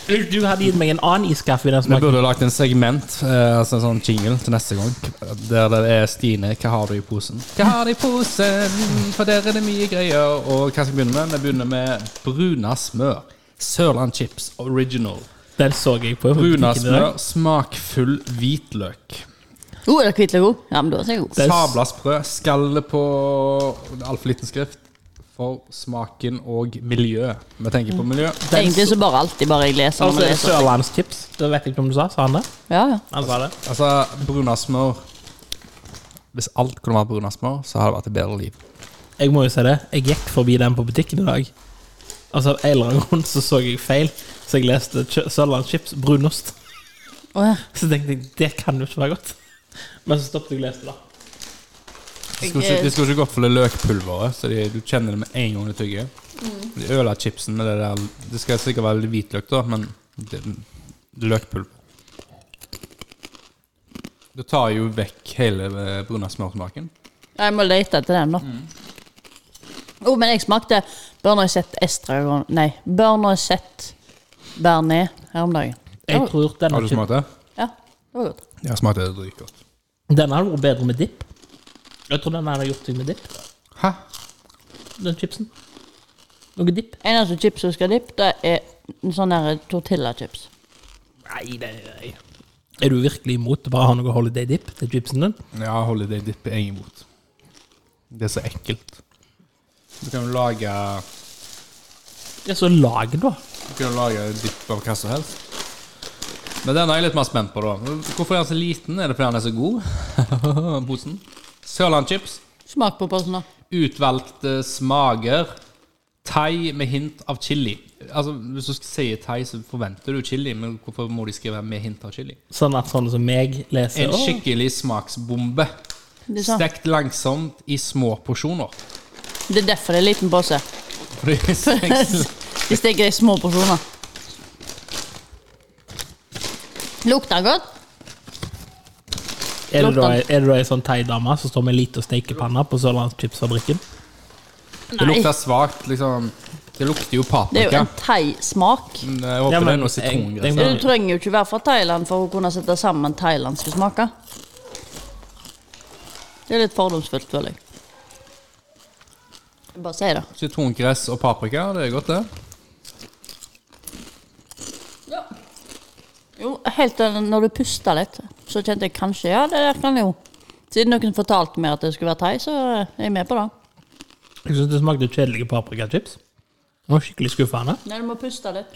S3: Du- Du hadde gitt meg en annen iskaffe i den
S2: Vi
S3: smaken.
S2: burde lagt en segment, eh, altså en sånn jingle til neste gang, der det er Stine, hva har du i posen? Hva har du i posen? For der er det mye greier. Og hva skal vi begynne med? Vi begynner med bruna smør. Sørland Chips Original.
S3: Den så jeg på.
S2: Bruna
S3: butikken i
S2: smør,
S3: dag.
S2: smakfull hvitløk.
S1: Å, det er hvitløk òg. Ja, men da er jeg god.
S3: Det er s-
S2: Sabla sprø. Skalle på altfor liten skrift. For smaken og miljø. Vi tenker
S3: Mm.
S2: på miljø.
S3: Den
S1: Egentlig
S3: så-
S1: så bare alltid bare jeg leser når
S3: Altså,
S1: man leser.
S3: Sørlandschips. Det vet jeg ikke om du sa. Sa han det?
S1: Ja, ja.
S3: Han sa det.
S2: Altså, bruna smør Hvis alt kunne vært bruna smør, så hadde det vært et bedre liv.
S3: Jeg må jo si det. Jeg gikk forbi den på butikken i dag. Altså, Av en eller annen grunn så så jeg feil, så jeg leste Kjø- Sørlandschips brunost.
S1: Å, ja.
S3: Så tenkte jeg det kan jo ikke være godt. Men så stoppet jeg å lese det. da.
S2: De skulle ikke, de skulle ikke gått for det løkpulveret, så de, du kjenner det med en gang du tygger.
S3: Mm.
S2: De øla chipsen med det der Det skal sikkert være litt hvitløk, da, men det, løkpulver. Du tar jo vekk hele eh, bruna smørsmaken.
S1: Jeg må lete etter den, da. Å, men jeg smakte Børnoisette Estragon Nei, Børnoisette Bernet her om dagen.
S3: Jeg tror denne,
S2: Har du smakt det?
S1: Ja, det var godt.
S2: Jeg smakte det dritgodt.
S3: denne hadde vært bedre med dipp. Jeg tror den hadde gjort ting med dipp.
S2: Hæ?
S3: Den chipsen. Noe dipp.
S1: Eneste chips som skal dipp, det er en sånn her tortillachips.
S3: Nei, det nei. Er du virkelig imot å bare ha noe holiday dip til chipsen din?
S2: Ja, holiday dip er jeg imot. Det er så ekkelt. Du kan jo lage
S3: Ja, så lag, da.
S2: Du kan jo lage dipp av hva som helst. Men den er jeg litt mer spent på, da. Hvorfor er den så liten? Er det fordi den er så god? Posen. Sørlandschips.
S1: Smak på posen, da.
S2: Utvalgte smaker. Thai med hint av chili. Altså, Hvis du sier thai, så forventer du chili, men hvorfor må de skrive 'med hint av chili'?
S3: Sånn at sånne som meg leser
S2: En
S3: «Åh,
S2: skikkelig smaksbombe.
S1: Det er, sånn.
S2: Stekt langsomt i små porsjoner.
S1: det er derfor det er liten pose.
S2: Fordi
S1: De steker i små porsjoner. Lukter godt.
S3: Er det, da, er det da ei sånn thaidame som står med lita stekepanne på Sørlandschipsfabrikken?
S2: Det
S1: Nei,
S2: lukter svakt, liksom. Det lukter
S1: det er
S2: jo
S1: jo
S2: paprika.
S1: en thaismak.
S2: Men eh, Jeg håper
S3: Ja, men
S2: det er noe
S3: jeg- jeg-
S2: sitrongreier.
S1: Du trenger jo ikke være fra Thailand for å kunne sette sammen thailandske smaker. Det er litt fordomsfullt, føler jeg. Jeg Bare si det.
S2: Sitrongress og paprika, det er godt, det.
S1: Jo, helt til når du puster litt, så kjente jeg kanskje Ja, det der kan jeg jo. Siden noen fortalte meg at det skulle være thai, så er jeg med på det.
S3: Jeg syns det smakte kjedelige paprikachips. Det var skikkelig skuffende.
S1: Nei, du må puste litt.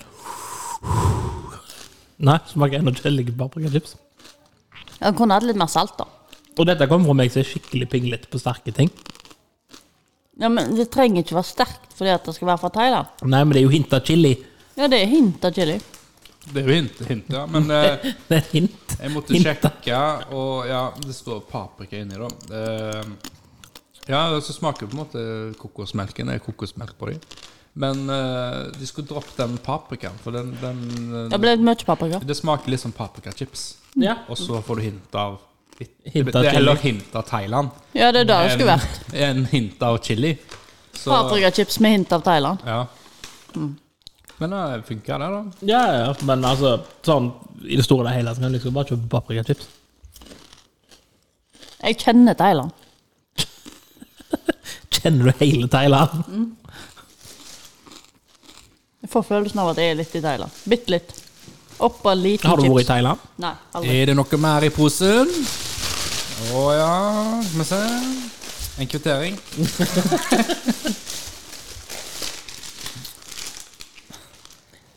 S3: Nei, smaker ennå chili paprikachips.
S1: Jeg kunne hatt litt mer salt, da.
S3: Og dette kommer fra meg som er skikkelig pinglete på sterke ting.
S1: Ja, men Det trenger ikke være sterkt fordi at det skal være fra Thailand.
S3: Nei, men det er jo hint av chili.
S1: Ja, det er hint av chili.
S2: Det er jo hint, hint ja. Men eh,
S3: Det er et hint.
S2: jeg måtte
S3: Hint, da.
S2: sjekke, og ja, det står paprika inni, da. Eh, ja, så smaker på en måte kokosmelken. Det er kokosmelk på dem. Men eh, de skulle droppe den paprikaen, for den, den
S1: Det ble litt mye paprika.
S2: Det smaker litt som paprikachips.
S3: Ja.
S2: Og så får du hint av
S3: Hint av
S2: Det er Heller
S3: chili.
S2: hint av Thailand.
S1: Ja, det er det det skulle
S2: enn-
S1: vært.
S2: enn hint av chili. Så-
S1: Paprikachips med hint av Thailand.
S2: Ja.
S1: Mm.
S2: Men det funka, det, da.
S3: Ja, ja, men altså, sånn i det store og det hele så kan du liksom bare kjøpe paprikachips.
S1: Jeg kjenner Thailand.
S3: Kjenner du hele Thailand?
S1: Jeg får følelsen av at jeg er litt i Thailand. Bitte litt. Oppå en liten
S3: Har du vært i
S1: chips.
S3: Thailand?
S1: Nei, aldri.
S2: Er det noe mer i posen? Å ja, skal vi se. En kvittering.
S1: Mm.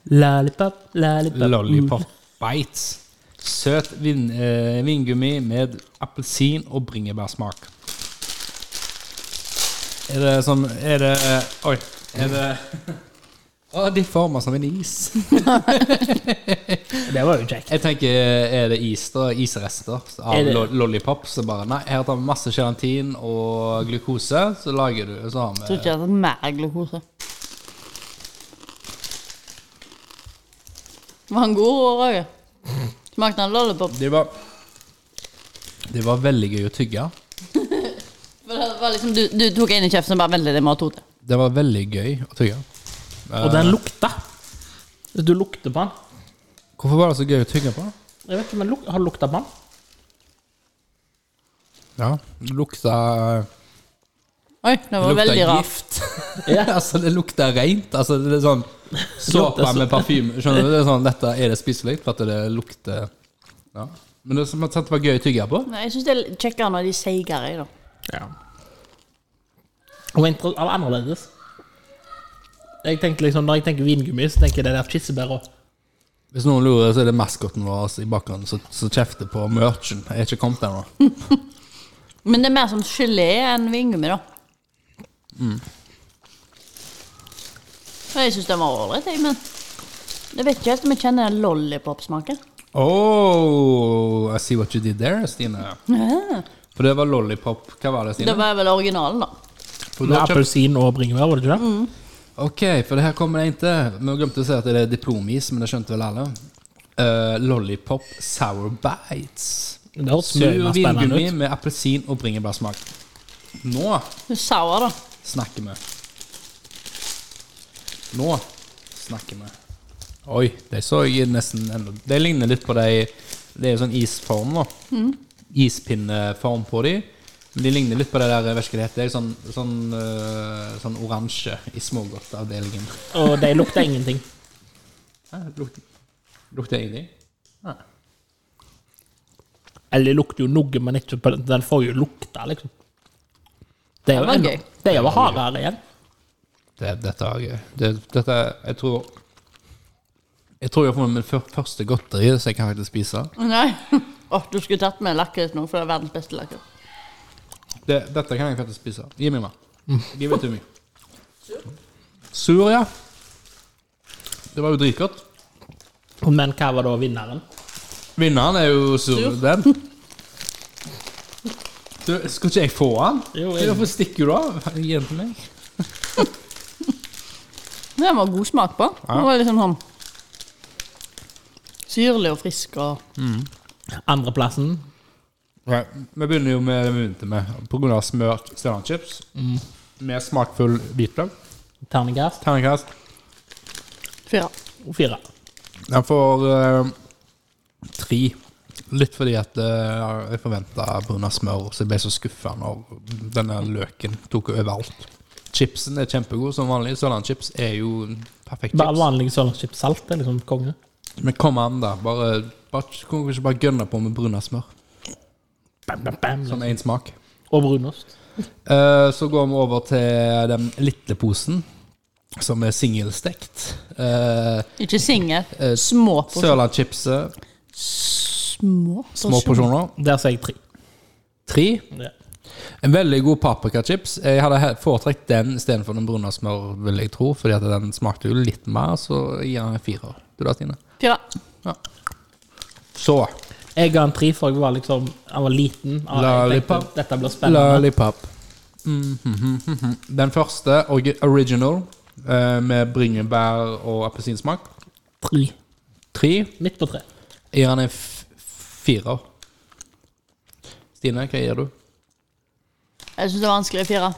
S3: Lollipop, lollipop.
S2: Lollipop bites. Søt vin, eh, vingummi med appelsin og bringebærsmak. Er det sånn Er det eh, Oi. Er det Å, de former som en is.
S3: Eh. Det var jo kjekt.
S2: Jeg tenker, er det is da, isrester
S3: Er
S2: av
S3: det-
S2: lo lollipop? Så bare, nei, her tar vi masse gelatin og glukose, så lager du, så har
S1: Jeg tror
S2: vi
S1: ikke jeg har hatt mer glukose. Var han god, Roger? Smakte han lollipop?
S2: Det var, det var veldig gøy å tygge.
S1: For det var liksom, du, du tok en i kjeften og bare 'Vent litt, jeg må ha to til'.
S2: Det var veldig gøy å tygge.
S3: Og
S1: Eh.
S3: den lukta. Du lukter på den.
S2: Hvorfor var det så gøy å tygge på?
S3: Jeg vet ikke, men luk har du lukta på den?
S2: Ja, det lukta,
S1: Oi, det var
S2: det
S1: veldig
S2: lukta
S1: rart.
S2: gift.
S3: Ja.
S2: altså, det lukta rent. Altså, det er sånn
S3: lukter
S2: såpe
S3: så-
S2: med parfyme. Skjønner du? Det er sånn, dette er det spiselig, for at det lukter... Ja. Men det er som at det var gøy å tygge på.
S1: Nei, Jeg syns det er litt kjekkere når de er seigere. jeg, da.
S3: Ja. Og inter- og annerledes. Jeg tenkte liksom, Når jeg tenker vingummi, så tenker jeg det der kirsebæra.
S2: Hvis noen lurer, så er det maskoten vår altså, i bakgrunnen som som kjefter på merchen. Jeg er ikke kommet ennå.
S1: Men det er mer som gelé enn vingummi, da. Og Jeg syns den var ålreit, jeg, men jeg vet ikke helt om jeg kjenner den lollipop-smaken.
S2: Oh, I see what you did there, Stine. For det var lollipop. Hva var det,
S1: Det
S2: Stine?
S1: var vel originalen, da.
S2: For du
S3: Med
S2: har kjøpt-
S3: appelsin og bringebær, var det ikke det?
S1: Mm.
S2: Ok, for det her kommer det ikke. Vi glemte å si at det er diplomis, men det skjønte vel alle. Eh, lollipop sour bites.
S3: Det hørtes mye
S2: Sur
S3: mer spennende
S2: vingummi
S3: ut.
S2: med appelsin og bringebærsmak. Nå
S1: Hun er Sour, da.
S2: snakker vi. Nå snakker vi. Oi, de så jeg nesten enda De ligner litt på de Det er jo sånn isform, da. Ispinneform på de. Men de ligner litt på det der, jeg vet ikke hva det heter, sånn, sånn, øh, sånn oransje i smågodtavdelingen.
S3: Og de lukter ingenting.
S2: Hæ, Lukter lukter jeg ingenting?
S3: Eller de lukter jo noe, men ikke på den. Den får jo lukta, liksom. Det er
S1: Det var
S3: jo
S1: gøy.
S3: det er jo hardere igjen.
S2: Det, dette er gøy. Det, dette er- Jeg tror Jeg tror jeg får min fyr- første godteri som jeg kan faktisk spise.
S1: Nei. Åh, du skulle tatt med lakris nå, for det er verdens beste lakris.
S2: Det, dette kan jeg faktisk spise. Gi meg mer. Give it to me. Sur, ja. Det var jo dritgodt.
S3: Men hva var da vinneren?
S2: Vinneren er jo sur.
S1: Sur.
S2: Den. Du, skal ikke jeg få den?
S3: Jo, jeg-
S2: Hvorfor stikker du av? Gi den til meg.
S1: Den var god smak på. Den var liksom sånn syrlig og frisk og
S3: Andreplassen?
S2: Nei, vi begynner jo med det vi begynte med. På grunn av smørt stjernechips. Med smakfull hvitløk.
S3: Terningkast?
S2: Terningkast.
S1: fyra.
S3: Fire.
S2: Jeg får eh, tre. Litt fordi at eh, jeg forventa bruna smør, så jeg ble så skuffa når denne løken tok overalt. Chipsen er kjempegod som vanlig. Sørlandschips er jo en perfekt
S3: Bare
S2: chips.
S3: vanlig sørlandschips salt er liksom konge.
S2: Men kom an, da. Bare, bare, kan vi ikke bare gønne på med bruna smør
S3: Bam, bam, bam.
S2: som én smak?
S3: Og brunost.
S2: Eh, så går vi over til den lille posen. som er singelstekt. Eh,
S1: Ikke singel.
S2: eh,
S1: Små porsjoner.
S2: Sørlandschipset,
S1: Små
S2: små porsjoner.
S3: Der sier jeg tre.
S2: Tre.
S3: Ja.
S2: En veldig god paprikachips. Jeg hadde he- foretrekt den istedenfor den brune smør, vil jeg tro, fordi at den smakte jo litt mer, så jeg gir den en firer. Du da, Stine?
S1: Fire.
S2: Så
S3: Jeg ga en tre, for jeg var liksom Jeg var liten. og jeg tenkte,
S2: Lollipop.
S3: Dette blir spennende.
S2: Lollipop. Mhm, mhm, mhm. Den første, orgi- original, eh, med bringebær og appelsinsmak.
S3: Tre.
S2: Tre.
S3: Midt på tre.
S2: Jeg gir den en f- firer. Stine, hva gir du?
S1: Jeg syns det var vanskelig. Fire.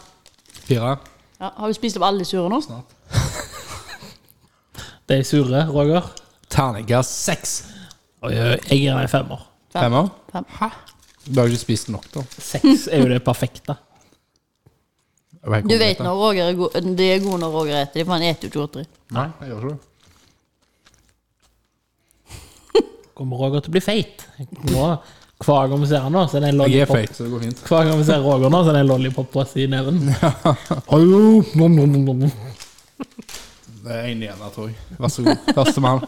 S2: Fire?
S1: Ja, har vi spist opp alle de sure nå?
S3: De er sure, Roger.
S2: Terningkast seks.
S3: Oi, oi, jeg gir deg en femmer.
S1: Fem.
S2: Femmer?
S1: Fem.
S2: Hæ? Du har jo ikke spist nok, da.
S3: Seks er jo det perfekte.
S2: Jeg vet ikke
S1: Du
S2: om
S1: vet
S2: dette.
S1: når Roger er god De er gode når Roger eter. De for han eter jo ikke godteri.
S2: Nei, jeg gjør ikke det.
S3: Kommer Roger til å bli feit? Nå, hver gang vi ser han nå, så er det en
S2: Jeg er
S3: lollipop.
S2: feit, så det går fint.
S3: Hver gang vi ser Roger nå, så er det en lollipop på oss i neven. Hallo, nom, nom, nom, nom.
S2: Det er en igjen der, tror jeg. Vær så god. Førstemann.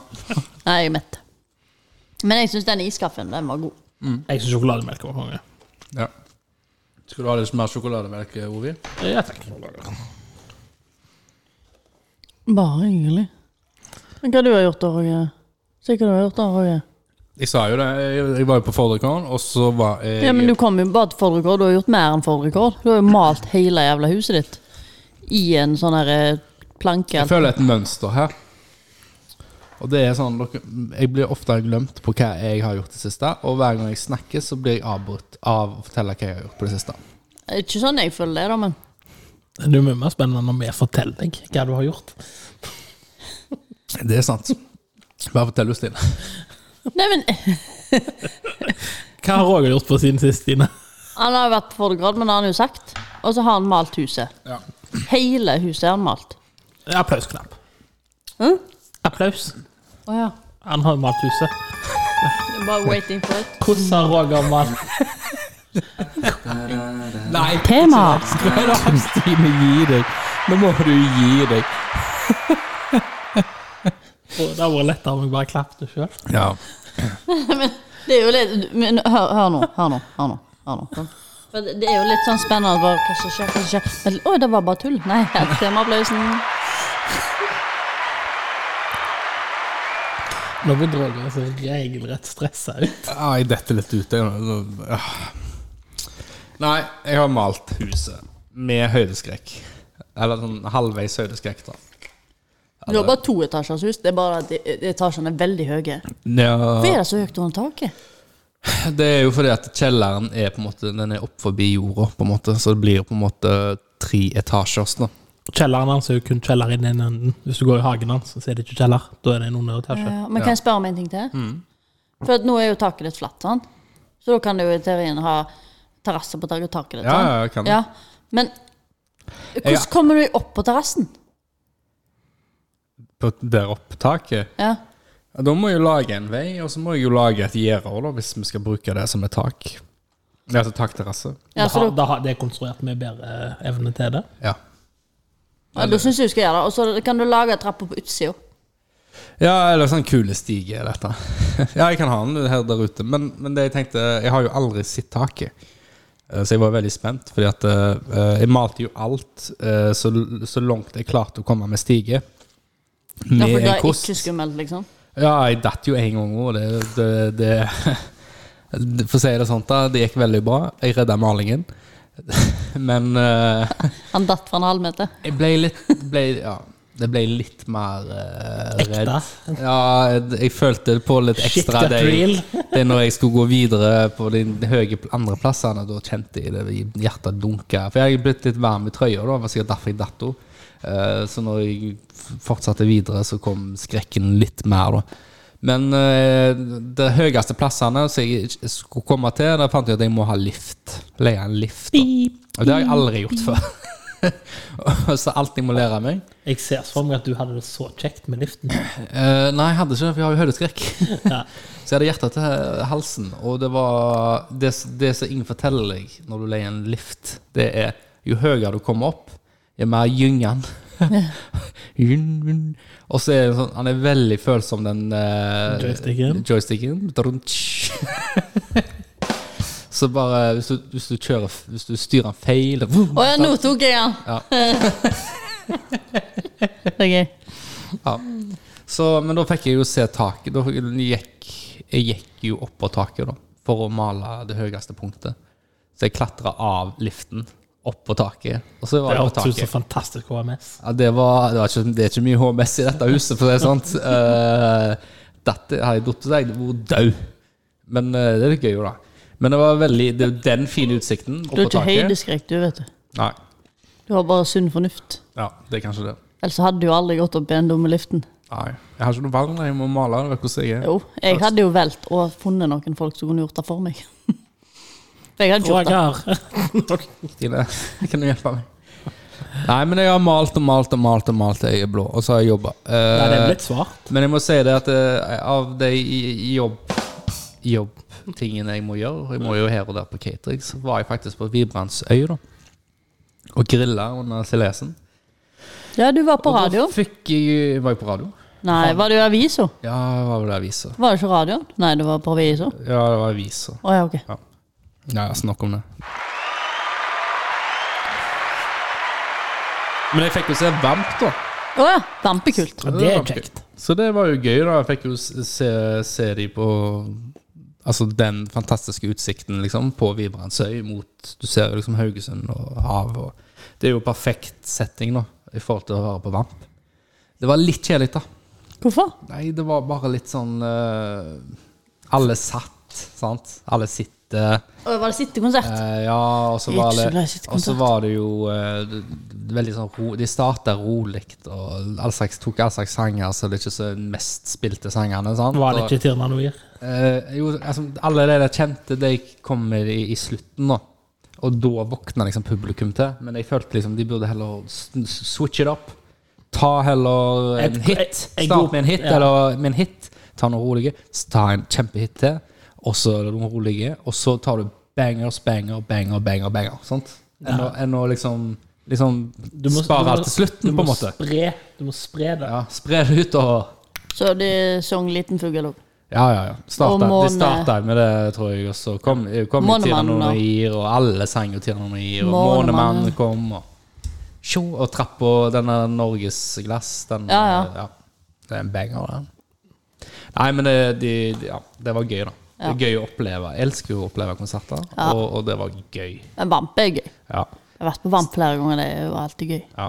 S1: Nei, jeg er mett. Men jeg syns den iskaffen den var god.
S3: Jeg syns sjokolademelk var konge.
S2: Ja. Skal du ha litt mer sjokolademelk, Ovi?
S3: Ja, takk.
S1: Bare hyggelig. Men hva du har gjort da, Roger? Se hva du har gjort da, Roger.
S2: Jeg sa jo det. Jeg jeg var jo på Fordrekon, og så var jeg
S1: Ja, men du kom jo bare til forrekord. Du har gjort mer enn forrekord. Du har jo malt hele jævla huset ditt i en sånn her eh, planke.
S2: Jeg føler et mønster her. Og det er sånn dere, Jeg blir ofte glemt på hva jeg har gjort det siste, og hver gang jeg snakker, så blir jeg avbrutt av å fortelle hva jeg har gjort på det siste.
S1: Ikke sånn jeg føler det, da, men
S3: Det er mye mer spennende når vi forteller deg hva du har gjort.
S2: Det er sant. Bare fortell du, Stine.
S1: Nei, men
S3: Hva har Roger gjort på siden sist, Stine?
S1: Han har jo vært på forrekord, men det har han jo sagt. Og så har han malt huset.
S2: Ja.
S1: Hele huset har han malt.
S3: Applausknapp.
S1: Hæ?
S3: Applaus.
S1: Å ja.
S3: Han har malt huset.
S1: Bare waiting for it.
S3: Hvordan har Roger malt
S2: Nei,
S1: Tema!
S2: Stine, gi deg. Nå må du gi deg.
S3: Det hadde vært lettere om jeg bare klappet det sjøl.
S2: Ja.
S1: Det er jo litt men, hør, hør nå. Hør nå. Hør nå. Hør nå. Sånn. For Det det er jo litt sånn spennende bare, hva som skjer, hva som skjer. Men, Oi, det var bare tull. Nei, her kommer applausen.
S3: Nå blir Roger så regelrett stressa ut.
S2: Ja, jeg detter litt ut. Jeg. Ja. Nei, jeg har malt huset med høydeskrekk. Eller sånn halvveis høydeskrekk, da.
S1: Du har bare to etasjers hus. Det er bare at de- etasjene er veldig høye. Hvorfor er det så høyt under taket?
S2: Det er jo fordi at kjelleren er på en måte Den er opp forbi jorda, på en måte så det blir på en måte tre etasjers. da
S3: Kjelleren hans er jo kun kjeller i den ene enden. Hvis du går i hagen hans, så er det ikke kjeller. Da er det en underetasje.
S1: Ja, men kan jeg spørre om en ting til?
S2: Mm.
S1: For at nå er jo taket litt flatt, sant? så da kan du jo i teorien ha terrasse på taket og taket ditt.
S2: Ja,
S1: sant?
S2: ja, jeg kan det.
S1: Ja. Men hvordan
S2: Ja.
S1: kommer du opp på terrassen?
S2: På der oppe taket.
S1: Ja.
S2: Ja, Da må jeg jo lage en vei, og så må jeg jo lage et gjerde også, da, hvis vi skal bruke det som et tak. Ja, Altså takterrasse.
S1: Ja,
S3: det,
S1: så da,
S3: har, det, har, det er konstruert med bedre eh, evne til det.
S2: Ja.
S1: ja, da syns jeg du skal gjøre det. Og så kan du lage trappa på utsida.
S2: ja, eller sånn kulestige er dette. ja, jeg kan ha den her der ute, men, men det jeg tenkte Jeg har jo aldri sett taket. Eh, Så jeg var veldig spent, fordi at eh, jeg malte jo alt eh, så, så langt jeg klarte å komme med stige.
S1: Ja,
S2: Med
S1: for det
S2: en
S1: er
S2: kost.
S1: ikke skummelt, liksom.
S2: Ja, jeg datt jo en gang òg. Det, det, det, det For å si det sånn, da. Det gikk veldig bra. Jeg redda malingen. Men eh,
S1: Han datt fra en halvmeter.
S2: jeg ble litt ble, Ja, det ble litt mer eh,
S3: Ekte.
S2: redd. Ja, jeg følte på litt
S3: Shit
S2: ekstra
S3: got
S2: det,
S3: real.
S2: det når jeg skulle gå videre på de høye pl- andreplassene. Da kjente jeg det i hjertet dunke. For jeg er blitt litt varm i trøya, da. Det var sikkert derfor jeg datt henne. Eh, Så når jeg f- fortsatte videre, så kom skrekken litt mer, da. Men eh, de høyeste plassene som jeg ikke skulle komme til, der fant jeg at jeg må ha lift. Leie en lift. Da. Og det har jeg aldri gjort før. så alt jeg må lære meg
S3: Jeg ser for meg at du hadde det så kjekt med liften.
S2: Eh, nei, jeg hadde ikke det, for jeg har jo høydeskrekk.
S3: Ja.
S2: så jeg hadde hjertet til halsen, og det var det, det som ingen forteller deg når du leier en lift, det er jo høyere du kommer opp, jo mer gyngende Og så er det sånn, han er veldig følsom, den eh,
S3: Joysticken.
S2: joysticken. Drunch. Så bare hvis du, hvis du kjører f- Hvis du styrer den feil
S1: Å ja, nå tok jeg den!
S2: Ja.
S1: Det er gøy.
S2: Ja. Så, men da fikk jeg jo se taket. Da gikk, jeg gikk jo opp på taket da, for å male det høyeste punktet. Så jeg klatra av liften, opp på taket. Og så var jeg
S3: Det
S2: på
S3: hørtes ut
S2: taket.
S3: som fantastisk HMS.
S2: Ja, det, var, det, var ikke, det er ikke mye HMS i dette huset, for å si det sånn. Uh, dette har jeg datt seg, hvor død. Men eh, det er litt gøy, jo, da. Men det var veldig, det er den fine utsikten.
S1: Du
S2: Oppå
S1: har ikke
S2: taket.
S1: høydeskrekk, du, vet du.
S2: Nei.
S1: Du har bare sunn fornuft.
S2: Ja, det er kanskje det.
S1: Ellers hadde du jo aldri gått opp i den dumme liften.
S2: Nei. Jeg har ikke noe vann, jeg må male. Du vet hvordan jeg er.
S1: Jo, jeg hadde jo valgt og funnet noen folk som kunne gjort det for meg. For jeg hadde ikke gjort det.
S2: Stine, kan du hjelpe meg? Nei, men jeg har malt og malt og malt og malt til jeg er blå, og så har jeg jobba.
S3: Nei,
S2: Eh,
S3: det er blitt svart.
S2: men jeg må si det at eh, av de i- i jobb jobbtingene jeg må gjøre, jeg må jo her og der på catering, så var jeg faktisk på Vibrandsøy da, og grilla under silesen.
S1: Ja, du var på radio.
S2: Og da fikk jeg Var jeg på radio?
S1: Nei, var det jo avisa?
S2: Ja, det var vel avisa.
S1: Var det ikke radioen? Nei, det var på avisa.
S2: Ja, det var avisa.
S1: Å ja, ok.
S2: Ja, ja, snakk om det. Men jeg fikk jo se Vamp, da.
S1: Å ja, Vampekult.
S3: Ja, det er kjekt.
S2: Så det var jo gøy, da. Jeg fikk jo s- se, se de på Altså den fantastiske utsikten liksom, på Vibrandsøy mot Du ser jo liksom Haugesund og havet. og- Det er jo perfekt setting da, i forhold til å være på Vamp. Det var litt kjedelig, da.
S1: Hvorfor?
S2: Nei, det var bare litt sånn eh, Alle satt, sant? Alle sitter.
S1: Å, var det sittekonsert?
S2: Eh, ja, og så
S1: Jeg er
S2: var
S1: ikke så glad i
S2: det,
S1: sittekontakt.
S2: og så var det jo eh, det- det- veldig sånn ro, De starta rolig og all slags, tok all slags sanger, så det er ikke så den mest spilte sangene. Sant?
S3: Var det
S2: Og,
S3: ikke Tirna Noir?
S2: eh, jo, altså, alle de der kjente, de kommer i, i slutten nå. Og da våkna liksom publikum til. Men jeg følte liksom de burde heller s- s- switch it up. Ta heller en
S3: Et-
S2: hit.
S3: et- en
S2: Start
S3: god-
S2: med en hit,
S3: ja.
S2: eller med en hit. Ta noen rolige. s- Ta en kjempehit til, og så noen rolige. Og så tar du bangers, banger, banger, banger. banger, sant? Enn å- enn å liksom, liksom
S3: Du må- du
S2: spare
S3: må-
S2: alt til slutten,
S3: du
S2: på en
S3: må
S2: måte.
S3: Spre, du må spre det.
S2: Ja, Spre det utover.
S1: Så de sang 'Liten fugl' òg.
S2: Ja, ja, ja.
S1: Og
S2: Starta,
S1: måne-
S2: de starta med det, tror jeg. Og så kom, kom jo
S1: Månemannen,
S2: Tiranoir, og alle sang jo Tiranoir. Og
S1: Månemannen.
S2: Månemannen kom, og tjo, og trappa, denne Norgesglass, den
S1: Ja, ja.
S2: Det er en banger, den. Nei, men det, de, de, ja, det var gøy, da. Det er gøy å oppleve. Jeg elsker jo å oppleve konserter, og, og det var gøy.
S1: Men Vamp er gøy. Jeg
S2: Ja.
S1: har vært på Vamp flere ganger, det er jo alltid gøy.
S2: Ja.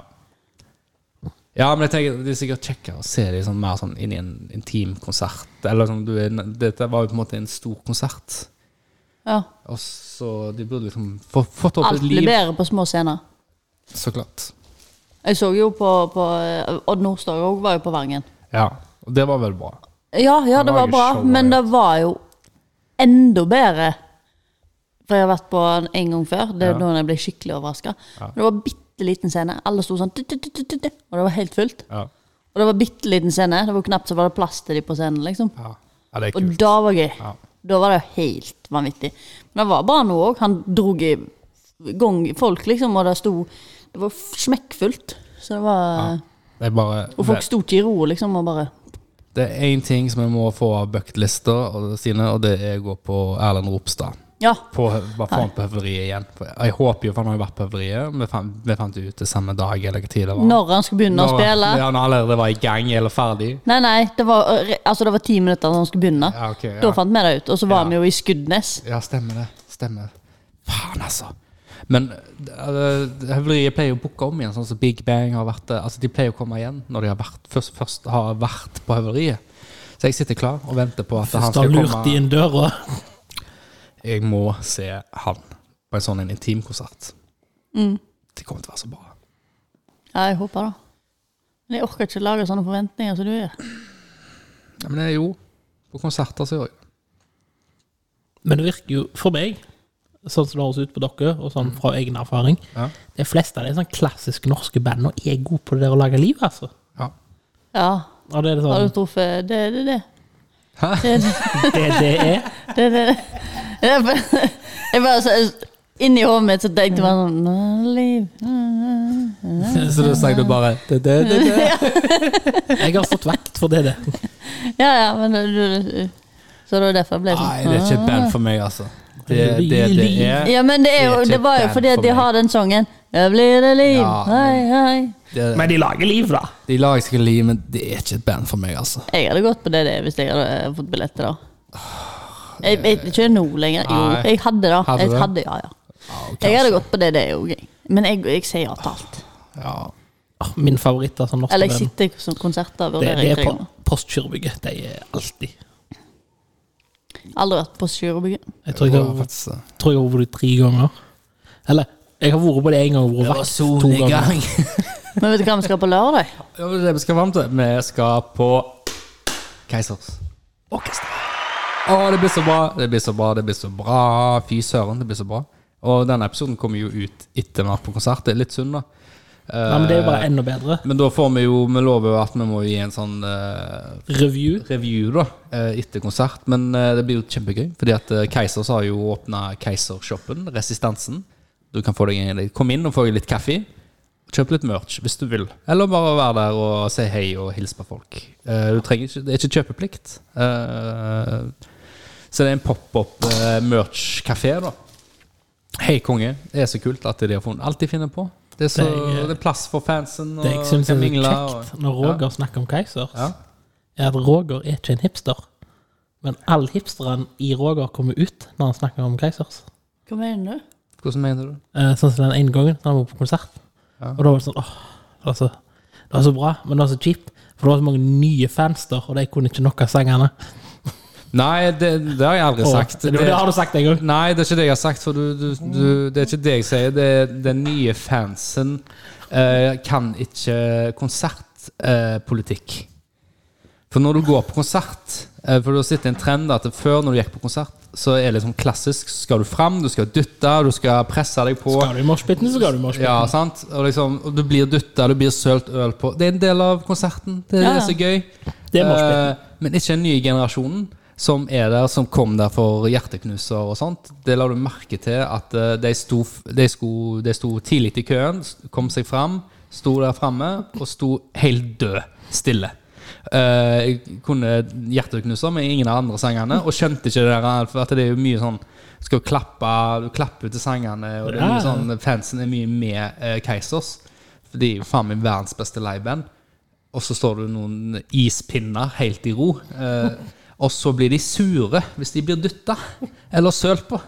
S2: ja, men jeg tenker det er sikkert kjekkere å se dem sånn, mer sånn inn i en intim konsert. Eller sånn, du, er- dette var jo på en måte en stor konsert.
S1: Ja.
S2: Og så De burde liksom få, fått opp
S1: Alt
S2: et
S1: blir
S2: liv.
S1: bedre på små scener.
S2: Så klart.
S1: Jeg så jo på, på eh, Odd Nordstoga òg var jo på Vangen.
S2: Ja. Og det var vel bra.
S1: Ja, ja,
S2: Han
S1: det var
S2: lager
S1: bra,
S2: show,
S1: men
S2: ja.
S1: det var jo enda bedre. For jeg har vært på den en gang før. Det er
S2: Ja.
S1: da jeg ble skikkelig overraska. Det var bitte liten scene. Alle sto sånn, tut, tut, tut, tut, tut, og det var helt fullt.
S2: Ja.
S1: Og det var bitte liten scene. Det var knapt så var det plass til de på scenen, liksom.
S2: Ja, ja det er
S1: Og
S2: kult.
S1: da var gøy.
S2: Ja.
S1: Da var det jo helt vanvittig. Men det var bra nå òg. Han drog i gang folk, liksom, og det sto Det var f- smekkfullt. Så det var
S2: Det er bare
S1: Og folk sto ikke i ro, liksom, og bare
S2: Det er én ting som jeg må få av bucketlista sine, og det er å gå på Erlend Ropstad.
S1: Ja.
S2: På, bare få han på høveriet igjen. For jeg håper jo, for han har jo vært på høveriet. Vi fant, vi fant ut det samme dag eller hva tid det var.
S1: Når han skulle begynne å
S2: Når-
S1: spille.
S2: Ja, når han allerede var i gang eller ferdig.
S1: Nei, nei, det var, altså det var ti minutter da han skulle begynne.
S2: Ja, ok, ja.
S1: Da fant vi det ut. Og så var
S2: Ja.
S1: vi jo i Skuddnes.
S2: Ja, stemmer det. Stemmer. Faen, altså. Men eh, høvleriet pleier jo å booke om igjen, sånn som Big Bang har vært det. Altså, De pleier å komme igjen når de har vært, først, først har vært på høvleriet. Så jeg sitter klar og venter på at han
S3: Først har
S2: skal
S3: lurt de
S2: komme.
S3: inn døra.
S2: Jeg må se han på en sånn en intimkonsert.
S1: Mm.
S2: Det kommer til å være så bra.
S1: Ja, jeg håper det. Men jeg orker ikke lage sånne forventninger som du gjør.
S2: Ja, men det er jo På konserter så gjør jeg det.
S3: Men det virker jo, for meg, sånn som det høres ut på dere, og
S2: Mm.
S3: sånn fra egen erfaring
S2: Ja.
S3: De fleste av de sånn klassisk norske bandene er gode på det der å lage liv, altså.
S2: Ja.
S1: Ja,
S3: Og det er det
S1: har
S3: sånn
S1: du truffet Det er det, det.
S2: Hæ?
S1: Det er det.
S3: Det det er
S1: det, er det. Jeg bare- Jeg bare så- Inni hodet mitt så tenkte jeg bare sånn «Nå, liv.
S2: Så da sang du bare det, det, det, det.
S3: Jeg har stått vakt for det, det.
S1: Ja, ja, men du- du- Så det var derfor jeg ble sånn.
S2: Nei, det er ikke et band for meg, altså. Det det, det er
S1: Ja, men det, er jo,
S2: Det er ikke
S1: det var jo
S2: et band
S1: fordi at
S2: for
S1: de
S2: meg.
S1: har den sangen. Jeg blir det liv,
S2: Ja,
S1: hei,
S2: men-
S1: hei.
S2: det,
S3: Men de lager liv, da.
S2: De lager seg liv, men det er ikke et band for meg, altså.
S1: Jeg hadde gått på det, det hvis jeg hadde eh, fått billett til det. Jeg vet ikke nå lenger. Jo,
S2: Nei.
S1: jeg hadde det.
S2: Hadde
S1: Jeg
S2: du?
S1: hadde, ja, ja.
S2: Ja,
S1: Jeg hadde
S2: kanskje.
S1: gått på det, det òg. Men jeg, jeg sier ja til alt.
S2: Ja.
S3: Åh, Ah, Min favoritt av sånn norske
S1: Eller jeg
S3: band.
S1: sitter som konserter og
S3: Det,
S1: vurderer
S3: det
S1: jeg
S3: er
S1: tre
S3: på
S1: ganger.
S3: Postgirobygget. De er alltid
S1: Aldri vært på Sjørobygget.
S3: Jeg tror jeg
S2: var
S3: har,
S2: faktisk-
S3: tror jeg har vært på det tre ganger. Eller jeg har vært på det én gang og vært vakt to ganger.
S1: Men vet du hva vi skal på lørdag?
S2: Ja, det er det vi skal fram til. Vi skal på Keisers Orkester. Å, det blir så bra, det blir så bra, det blir så bra. Fy søren, det blir så bra. Og denne episoden kommer jo ut etter vi har vært på konsert. Det er litt synd, da.
S3: Nei, men det er jo bare enda bedre.
S2: Men da får vi jo Vi lover jo at vi må gi en sånn eh,
S3: Review.
S2: review da eh, etter konsert. Men eh, det blir jo kjempegøy, fordi at eh, Keisers har jo åpna Keisershoppen, Resistansen. Du kan få deg en, Kom inn og få deg litt kaffe. Kjøp litt merch hvis du vil. Eller bare være der og si hei og hilse på folk. Eh, du trenger ikke, Det er ikke kjøpeplikt. Eh, så det er en pop-up eh, merch-kafé, da. Hei, konge. Det er så kult at de har funnet alt de finner på. Det er, så,
S3: Det
S2: det
S3: er-
S2: er, plass for fansen. Og
S3: Det jeg syns
S2: kan
S3: er så
S2: mingle,
S3: kjekt når Roger snakker om Keisers,
S2: Ja.
S3: er at Roger er ikke en hipster. Men all hipsteren i Roger kommer ut når han snakker om Keisers.
S1: Hva mener du?
S2: og, Hvordan mener du?
S3: Eh, Sånn som den ene gangen da han var på konsert.
S2: Ja.
S3: Og da var det sånn åh, det var, så, det var så bra, men det var så kjipt. For det var så mange nye fans der, og de kunne ikke nok av sangene.
S2: Nei, det, det har jeg aldri
S3: Og-
S2: sagt.
S3: det, det har du sagt en gang.
S2: Nei, det er ikke det jeg har sagt. For du, du, du, det er ikke det jeg sier. Det er den nye fansen eh, kan ikke konsertpolitikk. for når du går på konsert eh, For du har sett en trend at før, når du gikk på konsert, så er det sånn klassisk skal du fram, du skal dytte, du skal presse deg på.
S3: Skal du i moshpiten, så skal du i moshpiten.
S2: Ja, sant? Og, liksom, og du blir dytta, du blir sølt øl på. Det er en del av konserten. Det er
S1: Ja, ja.
S2: så gøy.
S3: Det er moshpiten.
S2: Eh, men ikke den nye generasjonen som er der, som kom der for hjerteknuser og sånt. Det la du merke til at eh, de sto, f- de sko, de sto tidlig i køen, s- kom seg fram, sto der framme og sto helt død stille. Eh, jeg kunne hjerteknuser med ingen av de andre sangene, og skjønte ikke det der, for at det er jo mye sånn skal klappe, du klapper til sangene, og det er mye
S3: Ja.
S2: sånn, fansen er mye med eh, Keisers. For de er jo faen meg verdens beste liveband. Og så står det noen ispinner helt i ro. Eh, og så blir de sure hvis de blir dytta eller sølt på.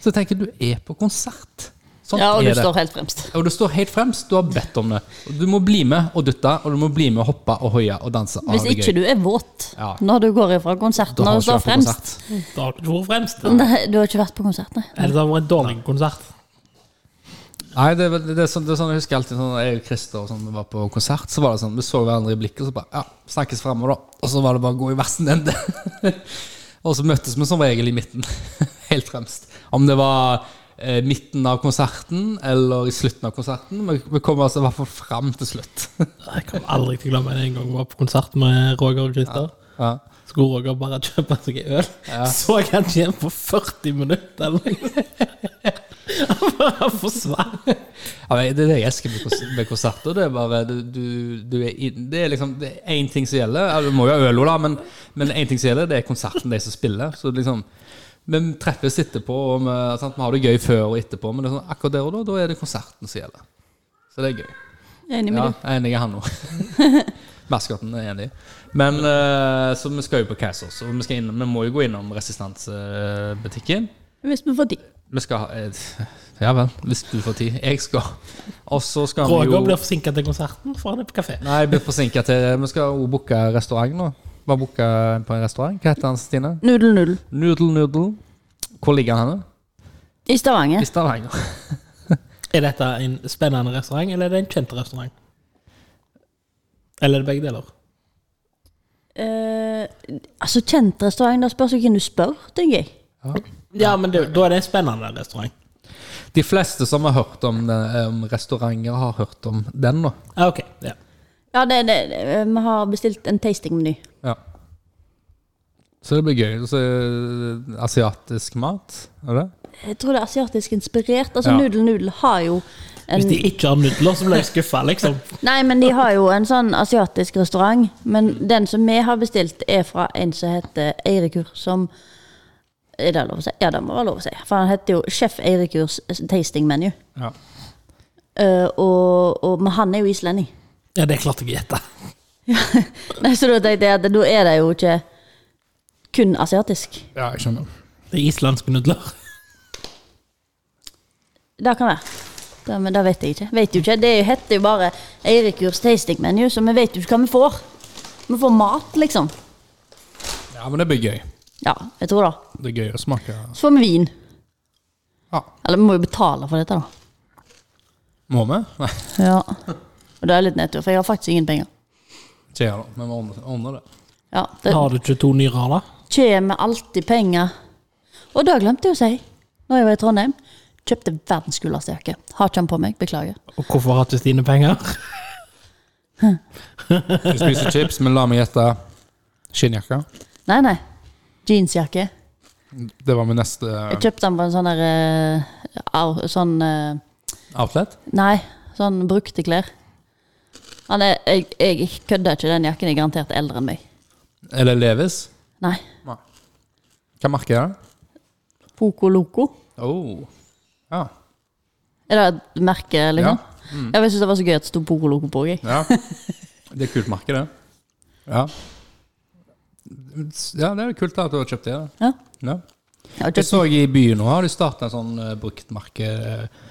S2: Så tenker jeg, du er på konsert. Sånn
S1: Ja, og du
S2: er det.
S1: står helt fremst.
S2: Og du står helt fremst. Du har bedt om det. Og du må bli med og dytte, og du må bli med og hoppe og hoie og danse. Ah,
S1: Hvis
S2: det er
S1: ikke
S2: gøy.
S1: du er våt
S2: Ja.
S1: når du går ifra konserten
S2: Da har
S1: og
S2: ikke
S1: står
S2: vært på
S1: fremst.
S2: konsert.
S3: Da har du ikke vært fremst.
S1: Nei, du har ikke vært på konsert, nei.
S3: Eller det har vært en dårlig konsert.
S2: Nei, det, er vel- det, er sånn, det er sånn jeg husker alltid sånn, når Jeg og Christer og sånn, vi var på konsert, så var det sånn Vi så hverandre i blikket, og så bare Ja, snakkes framme, da. Og så var det bare å gå i versen ende. og så møttes vi som regel i midten. Helt fremst. Om det var eh, midten av konserten eller i slutten av konserten. Vi, vi kom altså i hvert fall fram til slutt.
S3: Jeg kommer aldri til å glemme en gang jeg var på konsert med Roger og Christer.
S2: ja.
S3: Skulle Roger bare kjøpe seg en øl, så jeg han ikke igjen på 40 minutter. Eller? noe. Han bare forsvant.
S2: Ja, men det er det jeg elsker med kons- med konserter. Det er bare du, du, du er inn- Det er liksom Det er én ting som gjelder. Ja, Du må jo ha øl, da, men Men én ting som gjelder, det er konserten, de som spiller. Så liksom Vi treffes etterpå, og vi, sant? vi har det gøy før og etterpå, men det er sånn, akkurat der og da, da er det konserten som gjelder. Så det er gøy.
S1: Enig med
S2: Ja,
S1: deg.
S2: jeg er enig i han nå. Maskotten er enig. Men eh, så vi skal jo på Kaizers, og vi, skal innom, vi må jo gå innom resistansebutikken.
S1: Hvis vi får tid.
S2: Vi skal ha eh, Ja vel, hvis du får tid. Jeg skal. Og så skal vi jo
S3: Roger blir forsinka til konserten, for han er på kafé.
S2: Nei, jeg blir forsinka til Vi skal jo booke restaurant nå. Bare booke på en restaurant. Hva heter han, Stine?
S1: Nudel nudel.
S2: Noodle Noodle. Hvor ligger han? hen?
S1: I
S2: I
S1: Stavanger.
S2: Stavanger.
S3: Er dette en spennende restaurant, eller er det en kjent restaurant? Eller er det begge deler?
S1: Eh, altså, kjent restaurant, da spørs jo hvem du spør, tenker jeg.
S3: Ja, Ah, men det, da er det en spennende restaurant.
S2: De fleste som har hørt om, det- om restauranter, har hørt om den nå.
S3: Ja, Ah, ok. Ja.
S1: Ja, det, det, det, vi har bestilt en tastingmeny.
S2: Ja. Så det blir gøy. Så, asiatisk eh, mat, er det?
S1: Jeg tror det er asiatisk inspirert. Altså
S2: Ja.
S1: Nudel Nudel har jo en
S3: Hvis de ikke har nudler, så blir jeg skuffa, liksom.
S1: Nei, men de har jo en sånn asiatisk restaurant. Men den som vi har bestilt, er fra en som heter Eirikur, som Er det lov å si? Ja, det må være lov å si. For han heter jo Sjef Eirikurs tasting menu.
S2: Ja.
S1: Eh, og, og, men han er jo islending.
S3: Ja, det klarte jeg å gjette.
S1: Nei, så da tenkte jeg at da er det jo ikke kun asiatisk.
S2: ja, jeg skjønner.
S3: Det er islandske nudler.
S1: Det kan være. Det, men det vet jeg ikke. Vet jo ikke. Det er jo- heter jo bare Eirikurs tasting menu, så vi vet jo ikke hva vi får. Vi får mat, liksom.
S2: Ja, men det blir gøy.
S1: Ja, jeg tror det.
S2: Det er gøy å smake.
S1: Så får vi vin.
S2: Ja.
S1: Eller vi må jo betale for dette, da.
S2: Må vi? Nei,
S1: Ja. Og det er litt nedtur, for jeg har faktisk ingen penger.
S2: ikke jeg, da. Men vi ordner- ordner det.
S1: Ja, Det
S3: Har du ikke to nyrer, da?
S1: kommer alltid penger. Og det glemte jeg å si når jeg var i Trondheim. Kjøpte verdens gulleste jakke. Har ikke den på meg, beklager.
S3: Og hvorfor har ikke Stine penger?
S2: Du spiser chips, men la meg gjette. Skinnjakke.
S1: Nei, nei. Jeansjakke.
S2: Det var min neste
S1: Jeg kjøpte den på en sånn der eh, au- Sånn eh,
S2: outlet.
S1: Nei, sånn brukte klær. Han er, jeg, jeg kødder ikke, den jakken er garantert eldre enn meg.
S2: Er det Levis?
S1: Nei.
S2: Nei. Hva merke er det?
S1: Poco Loco.
S2: Oh. Ja.
S1: Er det et merke,
S2: Ja.
S1: liksom? Ja, Jeg synes det var så gøy at det sto Poco Loco på. Jeg.
S2: ja. Det er et kult merke, det. Ja. Ja, det er kult at du har kjøpt det. da.
S1: Ja.
S2: Ja.
S1: Ja,
S2: Jeg så i byen nå har de starta en sånn eh, bruktmarke eh,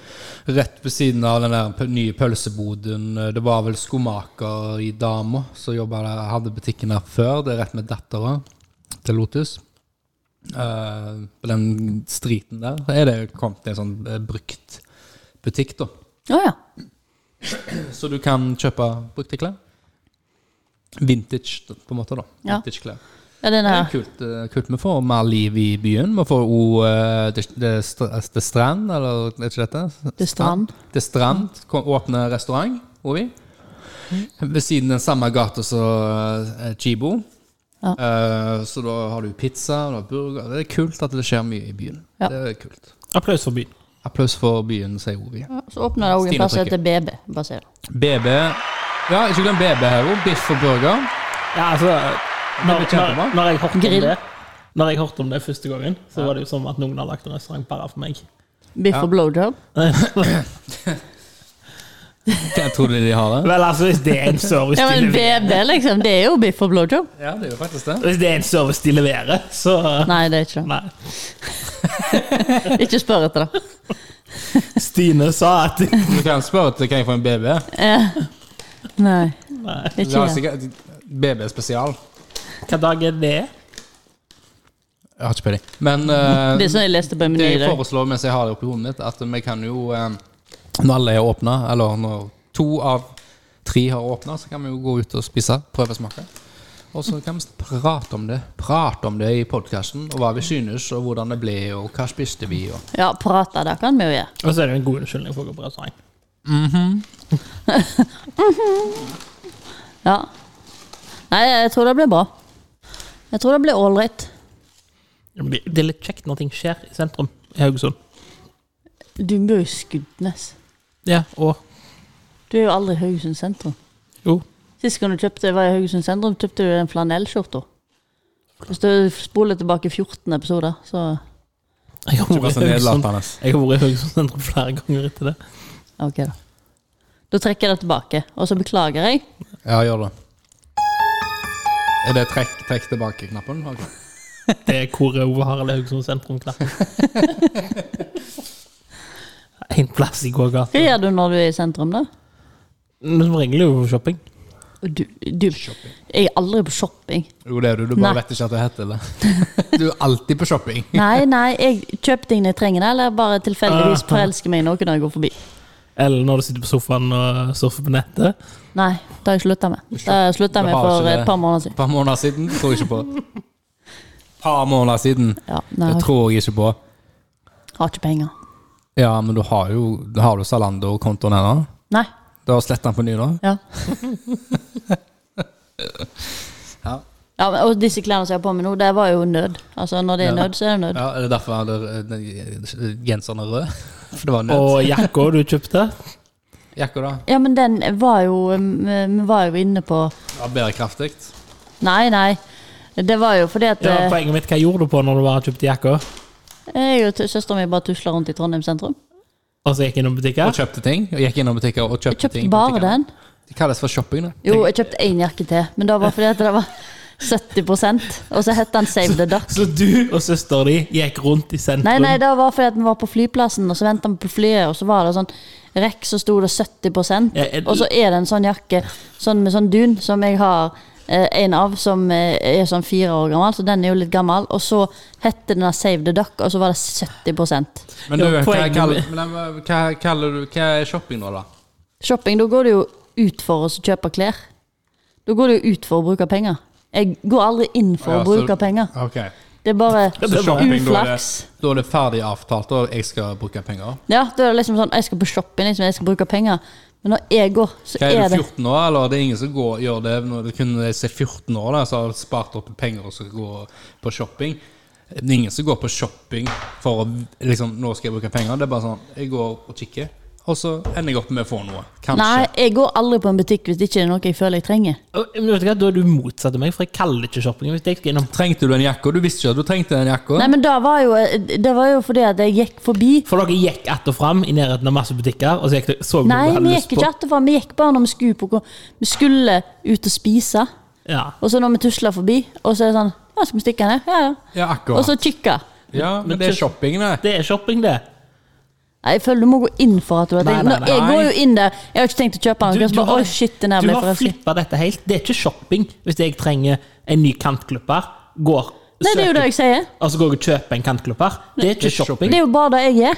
S2: rett ved siden av den der p- nye pølseboden. Eh, Det var vel skomaker i dama som jobba der, hadde butikken der før. Det er rett med dattera til Lotus. Eh, På den striten der er det kommet en sånn eh, brukt butikk, da.
S1: Å ja.
S2: Så du kan kjøpe brukte klær. Vintage, da, på en måte, da.
S1: Ja.
S2: Vintage klær.
S1: ja den
S2: Det er
S1: her.
S2: kult, eh, kult. Vi får mer liv i byen. Vi får òg oh, eh, det, det, st- det Strand, eller er ikke dette?
S1: Det er Strand.
S2: Det Strand kom, åpner restaurant, og vi.
S1: Mm.
S2: Ved siden den samme gata som eh, Chibo.
S1: Ja.
S2: Eh, så da har du pizza, du har burger Det er kult at det skjer mye i byen.
S1: Ja.
S2: Det er kult.
S3: Applaus for byen.
S2: Applaus for byen, sier Ovi.
S1: Ja, Så åpner det også en
S2: Stine
S1: plass som
S2: trykker.
S1: heter BB. Bare se det.
S2: BB Ja, ikke glem BB her òg. Biff og burger.
S3: Ja, altså Når,
S2: blir kjempebra.
S3: når, når jeg hørte om
S1: Grill.
S3: det Når jeg hørte om det første gangen, så var det jo som at noen har lagt en restaurant bare for meg.
S1: Biff og blowjob.
S2: Hva tror du de har det?
S3: Vel, altså, hvis det er en service
S1: Ja,
S3: de
S1: men
S3: leverer,
S1: BB, liksom. Det er jo biff og blowjob.
S2: Ja, det er jo faktisk det.
S3: hvis det er en service de leverer, så
S1: Nei, det er ikke det.
S3: Nei.
S1: Ikke spør etter det.
S3: Stine sa at
S2: Du kan spørre til kan jeg få en BB.
S1: Nei.
S3: Nei.
S1: Det er
S2: Det er
S1: ikke det.
S2: sikkert BB spesial.
S3: Hva dag er det?
S2: Jeg har ikke peiling. Men eh,
S1: Det er sånn jeg leste på en
S2: det
S1: meny. i
S2: jeg
S1: dag.
S2: foreslår mens jeg har det oppi hodet mitt, at vi kan jo eh, Når alle er åpna, eller når to av tre har åpna, så kan vi jo gå ut og spise. Prøve å smake. Og så kan vi prate om det Prate om det i podkasten, og hva vi synes, og hvordan det ble, og hva spiste vi, og
S1: Ja, prate, det kan vi jo gjøre.
S3: Og så er det jo en god unnskyldning for å gå på restaurant.
S1: Ja. Nei, jeg tror det blir bra. Jeg tror det blir ålreit.
S3: Det det er litt kjekt når ting skjer i sentrum i Haugesund.
S1: Du bor i Skudenes.
S3: Ja, og
S1: Du er jo aldri i Haugesund sentrum.
S3: jo.
S1: Sist gang du kjøpte var i Haugesund sentrum, kjøpte du en flanellskjorte. Hvis du spoler tilbake 14 episoder, så
S3: Jeg har vært i Haugesund,
S2: nedlatende.
S3: jeg har vært i Haugesund sentrum flere ganger etter det.
S1: Ok, da. Da trekker jeg det tilbake, og så beklager jeg.
S2: Ja, gjør det. Er det trekk, trekk tilbake-knappen? Ok.
S3: Det er hvor Ove Harald i Haugesund sentrum klarer. En plass i gågata.
S1: Hva gjør du når du er i sentrum, da?
S3: Men Som regel er jo shopping.
S1: Du, du, jeg er aldri på shopping.
S2: Jo, det er du. Du bare
S1: Nei.
S2: vet ikke at det heter det. Du er alltid på shopping.
S1: Nei, nei, jeg kjøper ting jeg trenger, eller bare tilfeldigvis forelsker meg i noe når jeg går forbi.
S3: Eller når du sitter på sofaen og surfer på nettet.
S1: Nei, det har jeg slutta med. Det har jeg slutta
S2: Du
S1: med
S2: har
S1: for
S2: ikke det.
S1: et par måneder siden.
S2: par måneder siden tror jeg ikke på. Par måneder siden.
S1: Ja, nei,
S2: Det
S1: jeg
S2: tror jeg ikke på.
S1: har ikke penger.
S2: Ja, men du har jo Har du Zalando-kontoen ennå?
S1: Nei.
S2: Du har sletta den på ny nå?
S1: Ja.
S2: Ja.
S1: Ja, men, og disse klærne som jeg har på meg nå, det var jo nød. Altså, når det er
S2: Ja.
S1: nød, så er det nød.
S2: Ja, er det derfor han hadde eh, genseren er rød? For det var nødt.
S3: Og jakka du kjøpte?
S2: Jakka, da?
S1: Ja, men den var jo Vi vi var jo inne på
S2: Ja, bærekraftig.
S1: Nei, nei. Det var jo fordi at
S3: Ja,
S1: eh,
S3: poenget mitt, hva gjorde du på når du var kjøpte jakka?
S1: jeg og søstera mi bare tusla rundt i Trondheim sentrum.
S3: Og så gikk innom butikker?
S2: Og kjøpte ting. Og gikk innom butikker og
S1: Jeg
S2: kjøpte ting.
S1: kjøpte bare den.
S2: Det kalles for shopping, det.
S1: Jo, jeg kjøpte én jakke til, men det var fordi at det var 70 og så het den Save the Duck.
S3: Så du og søsteren din gikk rundt i sentrum?
S1: Nei, nei, det var fordi at vi var på flyplassen, og så venta vi på flyet, og så var det sånn rekk, så sto det 70
S3: Ja, er-
S1: Og så er det en sånn jakke sånn med sånn dun som jeg har eh, en av, som eh, er sånn fire år gammel, så den er jo litt gammel. Og så hette den der Save the Duck, og så var det 70
S2: Men du,
S3: Ja,
S2: hva,
S3: poenget
S2: kaller,
S3: med-
S2: men, eh, hva kaller du Hva er shopping nå, da?
S1: Shopping, da går du jo ut for å kjøpe klær. Da går du jo ut for å bruke penger. Jeg går aldri inn for
S2: Ja,
S1: å
S2: så-
S1: bruke penger.
S2: Ok.
S1: Det er bare
S2: Så shopping, da er,
S1: uflaks.
S2: det, da er det ferdig avtalt, og jeg skal bruke penger.
S1: Ja, da er det liksom sånn Jeg skal på shopping, liksom, jeg skal bruke penger. Men når jeg går, så
S2: Hva
S1: er
S2: er du
S1: det
S2: 14 år, eller det er ingen som går, gjør det når du kunne se 14 år, da, så har du spart opp penger og skal gå på shopping. Det er ingen som går på shopping for å liksom, nå skal jeg bruke penger. Det er bare sånn, jeg går og kikker, og så ender jeg opp med å få noe. Kanskje.
S1: Nei, jeg går aldri på en butikk hvis det ikke er noe jeg føler jeg trenger.
S3: Og- Men vet du hva, Da er du motsatt av meg, for jeg kaller det ikke shopping. Hvis jeg skal innom
S2: Trengte du en jakke? Du visste ikke at du trengte en jakke.
S1: Nei, men da var jo, det var jo fordi at jeg gikk forbi.
S3: For dere gikk att og fram i nærheten av masse butikker, og så gikk dere, så dere
S1: Nei,
S3: hva dere
S1: vi
S3: hadde lyst
S1: gikk
S3: på.
S1: ikke etterfra. Vi gikk bare når vi skulle på kon- Vi skulle ut og spise.
S3: Ja.
S1: Og så når vi tusla forbi, og så er det sånn Ja, skal vi stikke ned? Ja, ja.
S2: Ja,
S1: Og
S2: akkurat.
S1: så kikka.
S2: ja, men det er shopping, det.
S3: Det er shopping, det.
S1: Nei, jeg føler du må gå inn for at du har
S3: Nei,
S1: tenkt
S3: nei,
S1: Når- Jeg
S2: nei.
S1: går jo inn der. Jeg har ikke tenkt å kjøpe noe. så bare, Oi, shit, den her
S3: du
S1: ble
S3: har
S1: for rask.
S3: flippa dette helt. Det er ikke shopping hvis jeg trenger en ny kantklipper. Går,
S1: Nei, det er jo det jeg sier.
S3: Og så går jeg og kjøper en kantklipper. Det er ikke shopping.
S1: Det er jo bare det jeg gjør.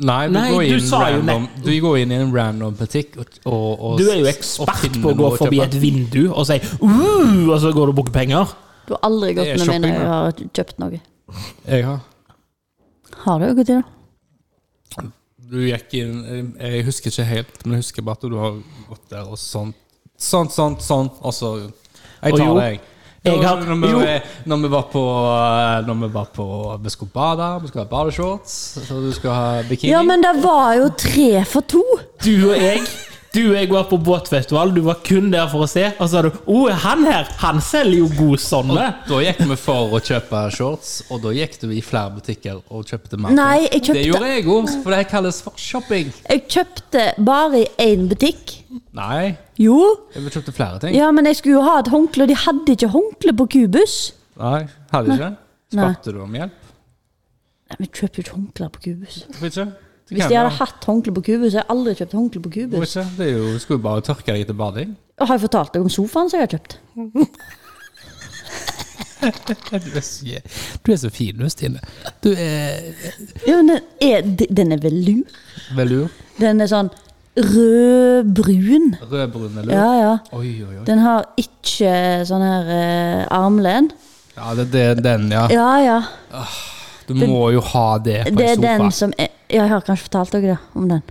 S2: Nei, du,
S3: Nei,
S2: går,
S3: du
S2: inn
S3: sa jo
S2: random, du går inn i en random butikk og, og, og
S3: Du er jo
S2: og
S3: ekspert
S2: finner
S3: på å gå
S2: noe
S3: forbi
S2: kjøpe.
S3: et vindu og si uh, og så går du og bruker penger.
S1: Du har aldri gått
S2: er
S1: med meg
S2: shopping,
S1: når jeg har kjøpt noe.
S2: Jeg har.
S1: Har du gått inn?
S2: Du gikk inn eh, Jeg husker ikke helt, men jeg husker bare at du har gått der og sånn. Sånn, sånn, sånn. Og så Jeg
S3: Og
S2: tar
S3: jo,
S2: det, jeg.
S3: jeg har-
S2: når, vi,
S3: jo.
S2: når vi var på eh, Når vi var på Vi skulle bade, vi skulle ha badeshorts, og du skulle ha bikini.
S1: Ja, men det var jo tre for to.
S3: Du og jeg Du og jeg var på båtfestival, du var kun der for å se. Og så sa du oh, han her, han selger jo god sånne.
S2: Da gikk vi for å kjøpe shorts, og da gikk du i flere butikker og kjøpte mer.
S1: Nei, jeg
S2: Det
S1: kjøpte,
S2: gjorde jeg òg, for det kalles for shopping.
S1: jeg kjøpte bare i én butikk.
S2: Nei,
S1: Jo,
S2: jeg kjøpte flere ting.
S1: ja, men jeg skulle jo ha et håndkle, og de hadde ikke håndkle på Kubus.
S2: Nei, hadde ikke.
S1: Nei.
S2: Spurte du om hjelp?
S1: Nei, Vi kjøper jo ikke håndklær på Kubus.
S2: Hvorfor ikke? Du
S1: Hvis
S2: kan
S1: de
S2: jo-
S1: hadde hatt håndkle på Kubus, så hadde jeg aldri kjøpt håndkle på
S2: Hvorfor
S1: Kubus.
S2: ikke? Det er jo, skulle jo bare tørke deg etter bading.
S1: Og Har jeg fortalt deg om sofaen som jeg har kjøpt?
S2: Du er så, fin, du, Stine. Du er
S1: Ja, men den er, de- den er velur.
S2: velur.
S1: Den er sånn rødbrun.
S2: Rødbrun velur.
S1: Ja, ja.
S2: Oi, oi, oi.
S1: Den har ikke sånn her eh, armlen.
S2: Ja, det, det er den, ja.
S1: Ja, ja.
S2: Du må jo ha det på
S1: Det er
S2: en sofa.
S1: den som er Ja, jeg har kanskje fortalt dere det, om den.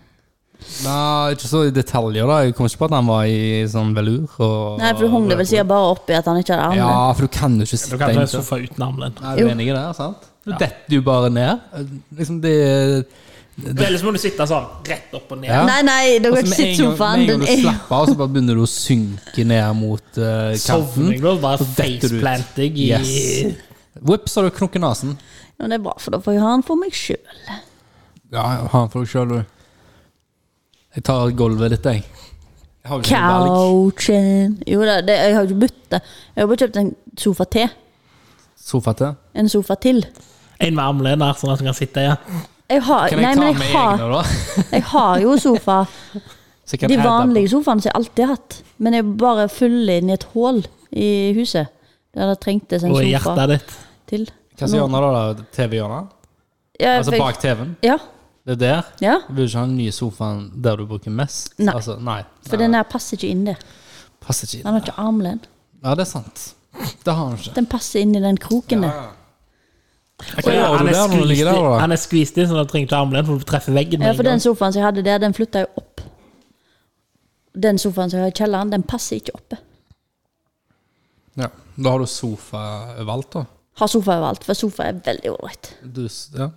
S2: Nei, ikke så i detaljer, da. Jeg kom ikke på at han var i sånn velur. Og,
S1: Nei, for du hung det vel sikkert bare oppi at han ikke hadde armene.
S2: Ja, for du kan jo ikke sitte
S3: Du kan ta en
S2: inntil.
S3: sofa uten armlen.
S2: Nei, du
S1: Jo.
S2: er enig i det, sant? Du detter jo bare ned. Liksom det
S3: Ellers må du sitte sånn rett opp og ned.
S2: Ja.
S1: Nei, nei, det går ikke
S2: Altså, med en
S1: sitt
S2: gang-
S1: sofaen.
S2: Med
S1: Den
S2: en gang du
S1: er jo
S2: slapper av, så bare begynner du å synke ned mot eh, kanten.
S3: Sovning, da. Bare
S2: detter du ut.
S3: faceplant deg i
S2: Yes. Whoops, har du knukket nesen.
S1: Men det er bra, for da får jeg ha den for meg sjøl.
S2: Ja, ha den for deg sjøl, du. Jeg tar gulvet ditt, jeg. Jeg har jo ikke noe valg.
S1: Couchen Jo da, det, jeg har jo ikke bytta. Jeg har bare kjøpt en sofa til.
S2: Sofa til.
S1: En sofa til.
S3: En med armlener, sånn at du kan sitte igjen.
S1: Jeg har,
S2: Kan jeg
S1: nei,
S2: ta
S1: men jeg
S2: med
S1: har,
S2: egne, da?
S1: jeg har jo sofa.
S2: Så jeg kan
S1: De
S2: edde på.
S1: vanlige sofaene som jeg alltid har hatt. Men jeg bare fyller inn i et hull i huset. Der det trengtes en
S3: Og i
S1: sofa
S3: hjertet ditt.
S1: til.
S2: Hva sier Anna da? da? TV-hjørnet?
S1: Ja,
S2: Altså
S1: for jeg-
S2: bak TV-en?
S1: Ja,
S2: Det er der?
S1: ja.
S2: Du vil ikke ha den nye sofaen der du bruker mest?
S1: Nei.
S2: Altså, nei.
S1: For den her passer ikke inn der.
S2: Passer ikke inn.
S1: Den har ikke armlen.
S2: Ja, det er sant. Det har han ikke.
S1: Den passer inn i den kroken der.
S2: Hva gjør
S3: han,
S2: du
S3: er
S2: der når du
S3: skvist
S2: ligger
S3: inn-
S2: der, da?
S3: han er skvist inn, så han trenger ikke armlen, for du treffer veggen. med
S1: Ja,
S3: en
S1: for
S3: gang.
S1: den sofaen som jeg hadde der, den flytta jo opp. Den sofaen som jeg har i kjelleren, den passer ikke oppe.
S2: Ja. Da har du sofa overalt, da.
S1: Har sofa overalt, for sofa er veldig ålreit.
S2: Du, s- ja.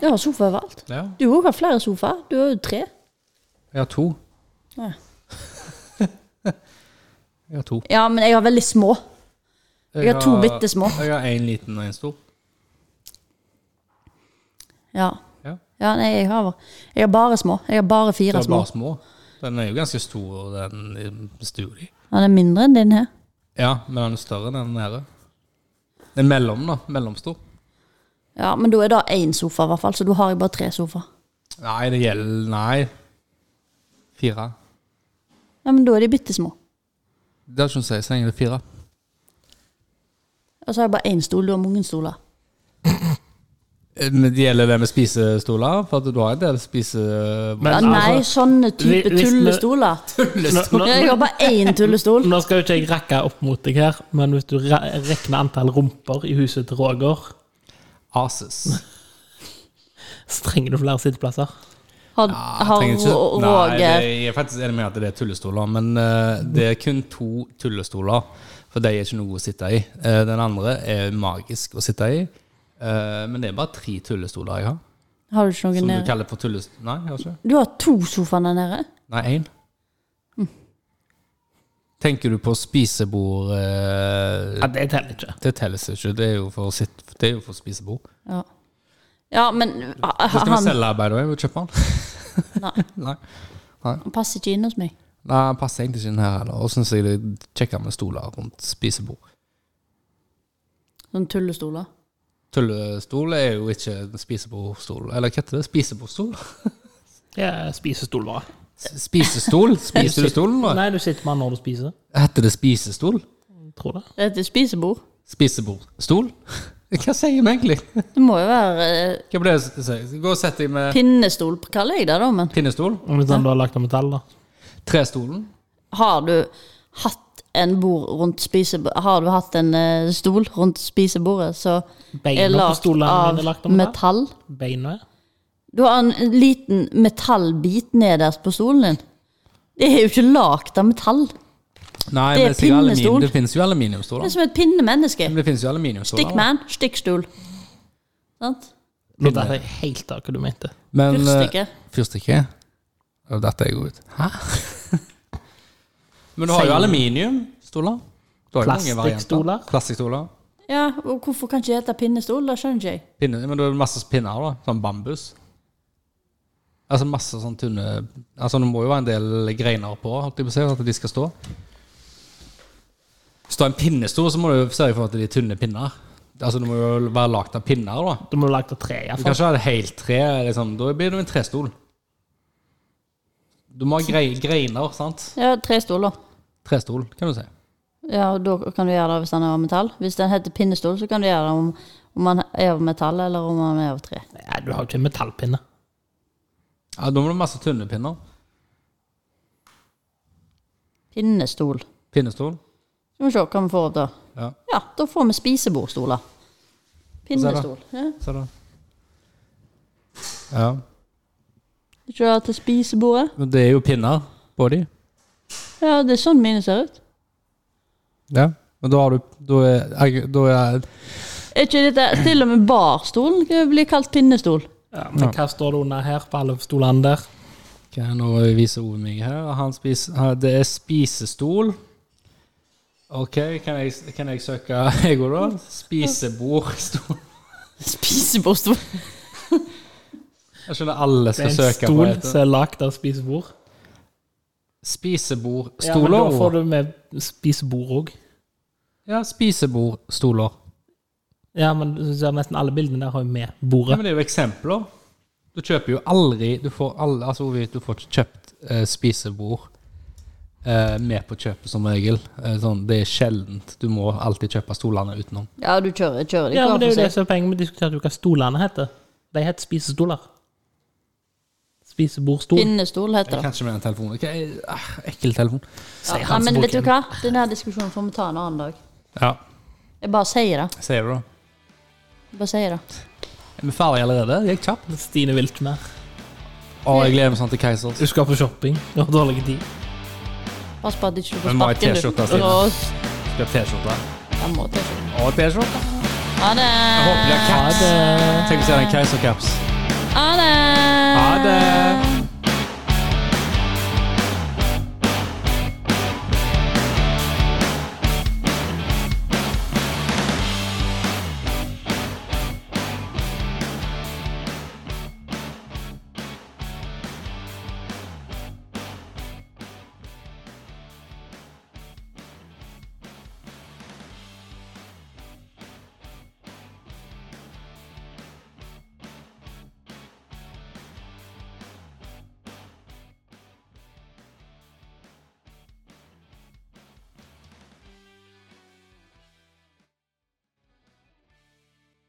S1: Jeg har sofa overalt.
S2: ja.
S1: Du òg har flere sofaer. Du har jo tre.
S2: Jeg har to.
S1: Ja.
S2: Jeg har to.
S1: Ja, men jeg har veldig små. Jeg har to bittesmå.
S2: Jeg har én liten og én stor.
S1: Ja.
S2: Ja.
S1: ja nei, jeg har, jeg har bare små. Jeg har bare
S2: Du
S1: fire
S2: har
S1: små.
S2: bare små. Den er jo ganske stor, den i stua di.
S1: Ja, den er mindre enn din her.
S2: Ja, men den er større enn den her. Den er mellom, da. Mellomstor.
S1: Ja, Men da er det én sofa, i hvert fall. Så da har jeg bare tre sofaer.
S2: Nei, det gjelder Nei. Fire.
S1: Ja, men da er de bitte små.
S2: Det har ikke noe å si så lenge det er fire.
S1: Og så har jeg bare én stol. Du har mange stoler.
S2: Eh, Men det gjelder det med spisestoler, for at du har en del spise...
S3: Men
S1: Ja, nei,
S3: altså,
S1: sånne type
S3: hvis- hvis vi-
S1: tullestoler.
S3: nå,
S1: Ja,
S3: nå,
S1: Jeg har bare én tullestol.
S3: nå skal jo ikke jeg rekke opp mot deg her, men hvis du re- regner antall rumper i huset til Roger,
S2: Ases.
S3: så trenger du flere sitteplasser.
S1: Har,
S2: Ja,
S1: har
S2: trenger ikke-
S1: Ro-
S2: Nei, det,
S1: Roger
S2: jeg er faktisk enig med at det er tullestoler, men eh, det er kun to tullestoler, for de er ikke noe å sitte i. Eh, den andre er magisk å sitte i, eh, men det er bare tre tullestoler jeg har.
S1: Har du ikke noe
S2: Som du
S1: nede?
S2: kaller for tullestoler. Nei, jeg har ikke.
S1: Du har to sofaer der nede.
S2: Nei, én.
S1: Hm.
S2: Tenker du på spisebord eh,
S3: Ja, det teller ikke.
S2: Det telles ikke, det er jo for, sitt, det er jo for spisebord.
S1: Ja. ja, men ha-
S2: Det skal vi
S1: han,
S2: selge, by the way. og Kjøpe den.
S1: nei,
S2: Nei,
S1: han passer ikke inn hos meg.
S2: Nei, den passer egentlig ikke inn her heller. Og syns jeg det er kjekkere med stoler rundt spisebord.
S1: Sånne Sånn tullestoler.
S2: Tullestol er jo ikke en spisebordstol. Eller hva heter det? Spisebordstol?
S3: Ja, spisestol, bare.
S2: S- Spisestol? Spiser du stolen nå?
S3: Nei, du sitter med den når du spiser.
S2: Heter det spisestol?
S3: Tror det.
S1: Det heter spisebord.
S2: Spisebordstol? Hva sier vi egentlig?
S1: Det må jo være eh,
S2: Hva ble det jeg sa? Gå og sett deg med
S1: pinnestol, kaller jeg det, da. Men
S2: pinnestol.
S3: Om det er sånn du har lagt av metall, da.
S2: Trestolen.
S1: har du hatt en bord rundt spisebordet Har du hatt en eh, stol rundt spisebordet som er
S3: Beina på
S1: lagd
S3: stolene
S1: av
S3: mine er lagt av metall.
S1: metall?
S3: Beina.
S1: Du har en liten metallbit nederst på stolen din. Det er jo ikke lagd av metall.
S2: Nei,
S1: Det er
S2: men sikkert aluminium-
S1: pinnestol.
S2: Det finnes jo
S1: Det er
S2: aluminiumstoler.
S1: som et pinnemenneske.
S2: Men Det finnes jo aluminiumstoler. da.
S1: Stickman, stikkstol. Sant?
S3: Nå vet jeg helt av hva du mente.
S2: Men, eh,
S1: Fyrstikke.
S2: Fyrstikke? Og dette er jeg god ut. Hæ? Men du har jo
S3: Seil.
S2: aluminiumstoler. Du har jo mange varianter.
S3: Plastikkstoler.
S2: Plastikkstoler.
S1: Ja, og hvorfor kan ikke det hete pinnestol? Det skjønner ikke jeg.
S2: Pinne, men du har masse pinner, da. Sånn bambus. Altså masse sånn tynne Altså Det må jo være en del greiner på holdt jeg på å si, for at de skal stå. Hvis du har en pinnestol, så må du sørge for at de er tynne pinner. Altså Det må jo være lagd av pinner, da.
S3: Du må ha lagt av tre,
S2: Du
S3: iallfall.
S2: kan ikke ha det helt tre. Liksom. Da blir det jo en trestol. Du må ha grei, greiner, sant?
S1: Ja, tre stoler.
S2: Trestol, kan du si.
S1: Ja, og da kan du gjøre det hvis den er av metall. Hvis den heter pinnestol, så kan du gjøre det om, om den er av metall, eller om den er av tre.
S3: Nei, du har jo ikke en metallpinne.
S2: Ja, Da må du ha masse tynne pinner.
S1: Pinnestol.
S2: Pinnestol.
S1: Skal vi se hva vi får opp da.
S2: Ja,
S1: Ja, da får vi spisebordstoler. Pinnestol. Ja,
S2: se da. Ja.
S1: ikke det til spisebordet?
S2: Men det er jo pinner på de.
S1: Ja, det er sånn mine ser ut.
S2: Ja. Men da har du Da er, jeg- da er
S1: Er ikke dette Til og med barstolen kan bli kalt pinnestol.
S3: Ja, men hva står det under her, på alle stolene der?
S2: Kan jeg nå vise Ove meg her? Han spiser, her, det er spisestol. OK, kan jeg, kan jeg søke jeg òg, da? Spisebordstol.
S1: Spisebordstol.
S2: Jeg skjønner alle
S3: Det
S2: skal
S3: er en
S2: søke på
S3: stol
S2: dette.
S3: som er lagd av spisebord. Ja, men
S2: Spisebordstoler.
S3: da får du med spisebord òg.
S2: Ja, spisebordstoler.
S3: Ja, men du ser nesten alle bildene der har jo med
S2: Ja,
S3: bordet.
S2: men det er jo eksempler. Du kjøper jo aldri Du får, alle, altså, Ovi, du får ikke kjøpt eh, spisebord eh, med på kjøpet, som regel. Eh, sånn, det er sjeldent. Du må alltid kjøpe stolene utenom.
S1: Ja, du kjører, kjører de
S3: Ja,
S1: hver
S3: men det er jo
S1: for seg.
S3: det som er poenget med å diskutere hva stolene heter. De heter spisestoler. Spisebordstol.
S1: Pinnestol heter det.
S2: Jeg kan ikke med den telefonen. Hva er- ah, ekkel telefon.
S1: Ja,
S3: sier
S1: nei,
S3: han som
S1: men vet du
S3: bokhandler.
S1: hva? Denne her diskusjonen får vi ta en annen dag.
S2: Ja,
S1: Jeg bare sier det.
S2: sier du da.
S1: Jeg bare sier det.
S2: Er vi ferdige allerede? Det gikk kjapt.
S3: Stine vil ikke mer.
S2: Å, jeg gleder meg sånn til Keisers.
S3: Du skal på shopping. Du har dårlig tid.
S1: Pass på at du ikke får
S2: Men må ha
S1: sparken, du.
S2: T-skjorta, Stine.
S1: Åh,
S2: Kjøp T-skjorte.
S1: Jeg må til å si.
S2: Og T-skjorte.
S1: Ha det!
S2: Jeg håper de har caps.
S3: Ha det.
S2: Tenk hvis de hadde en keisercaps.
S1: Ha det!
S2: Ha det!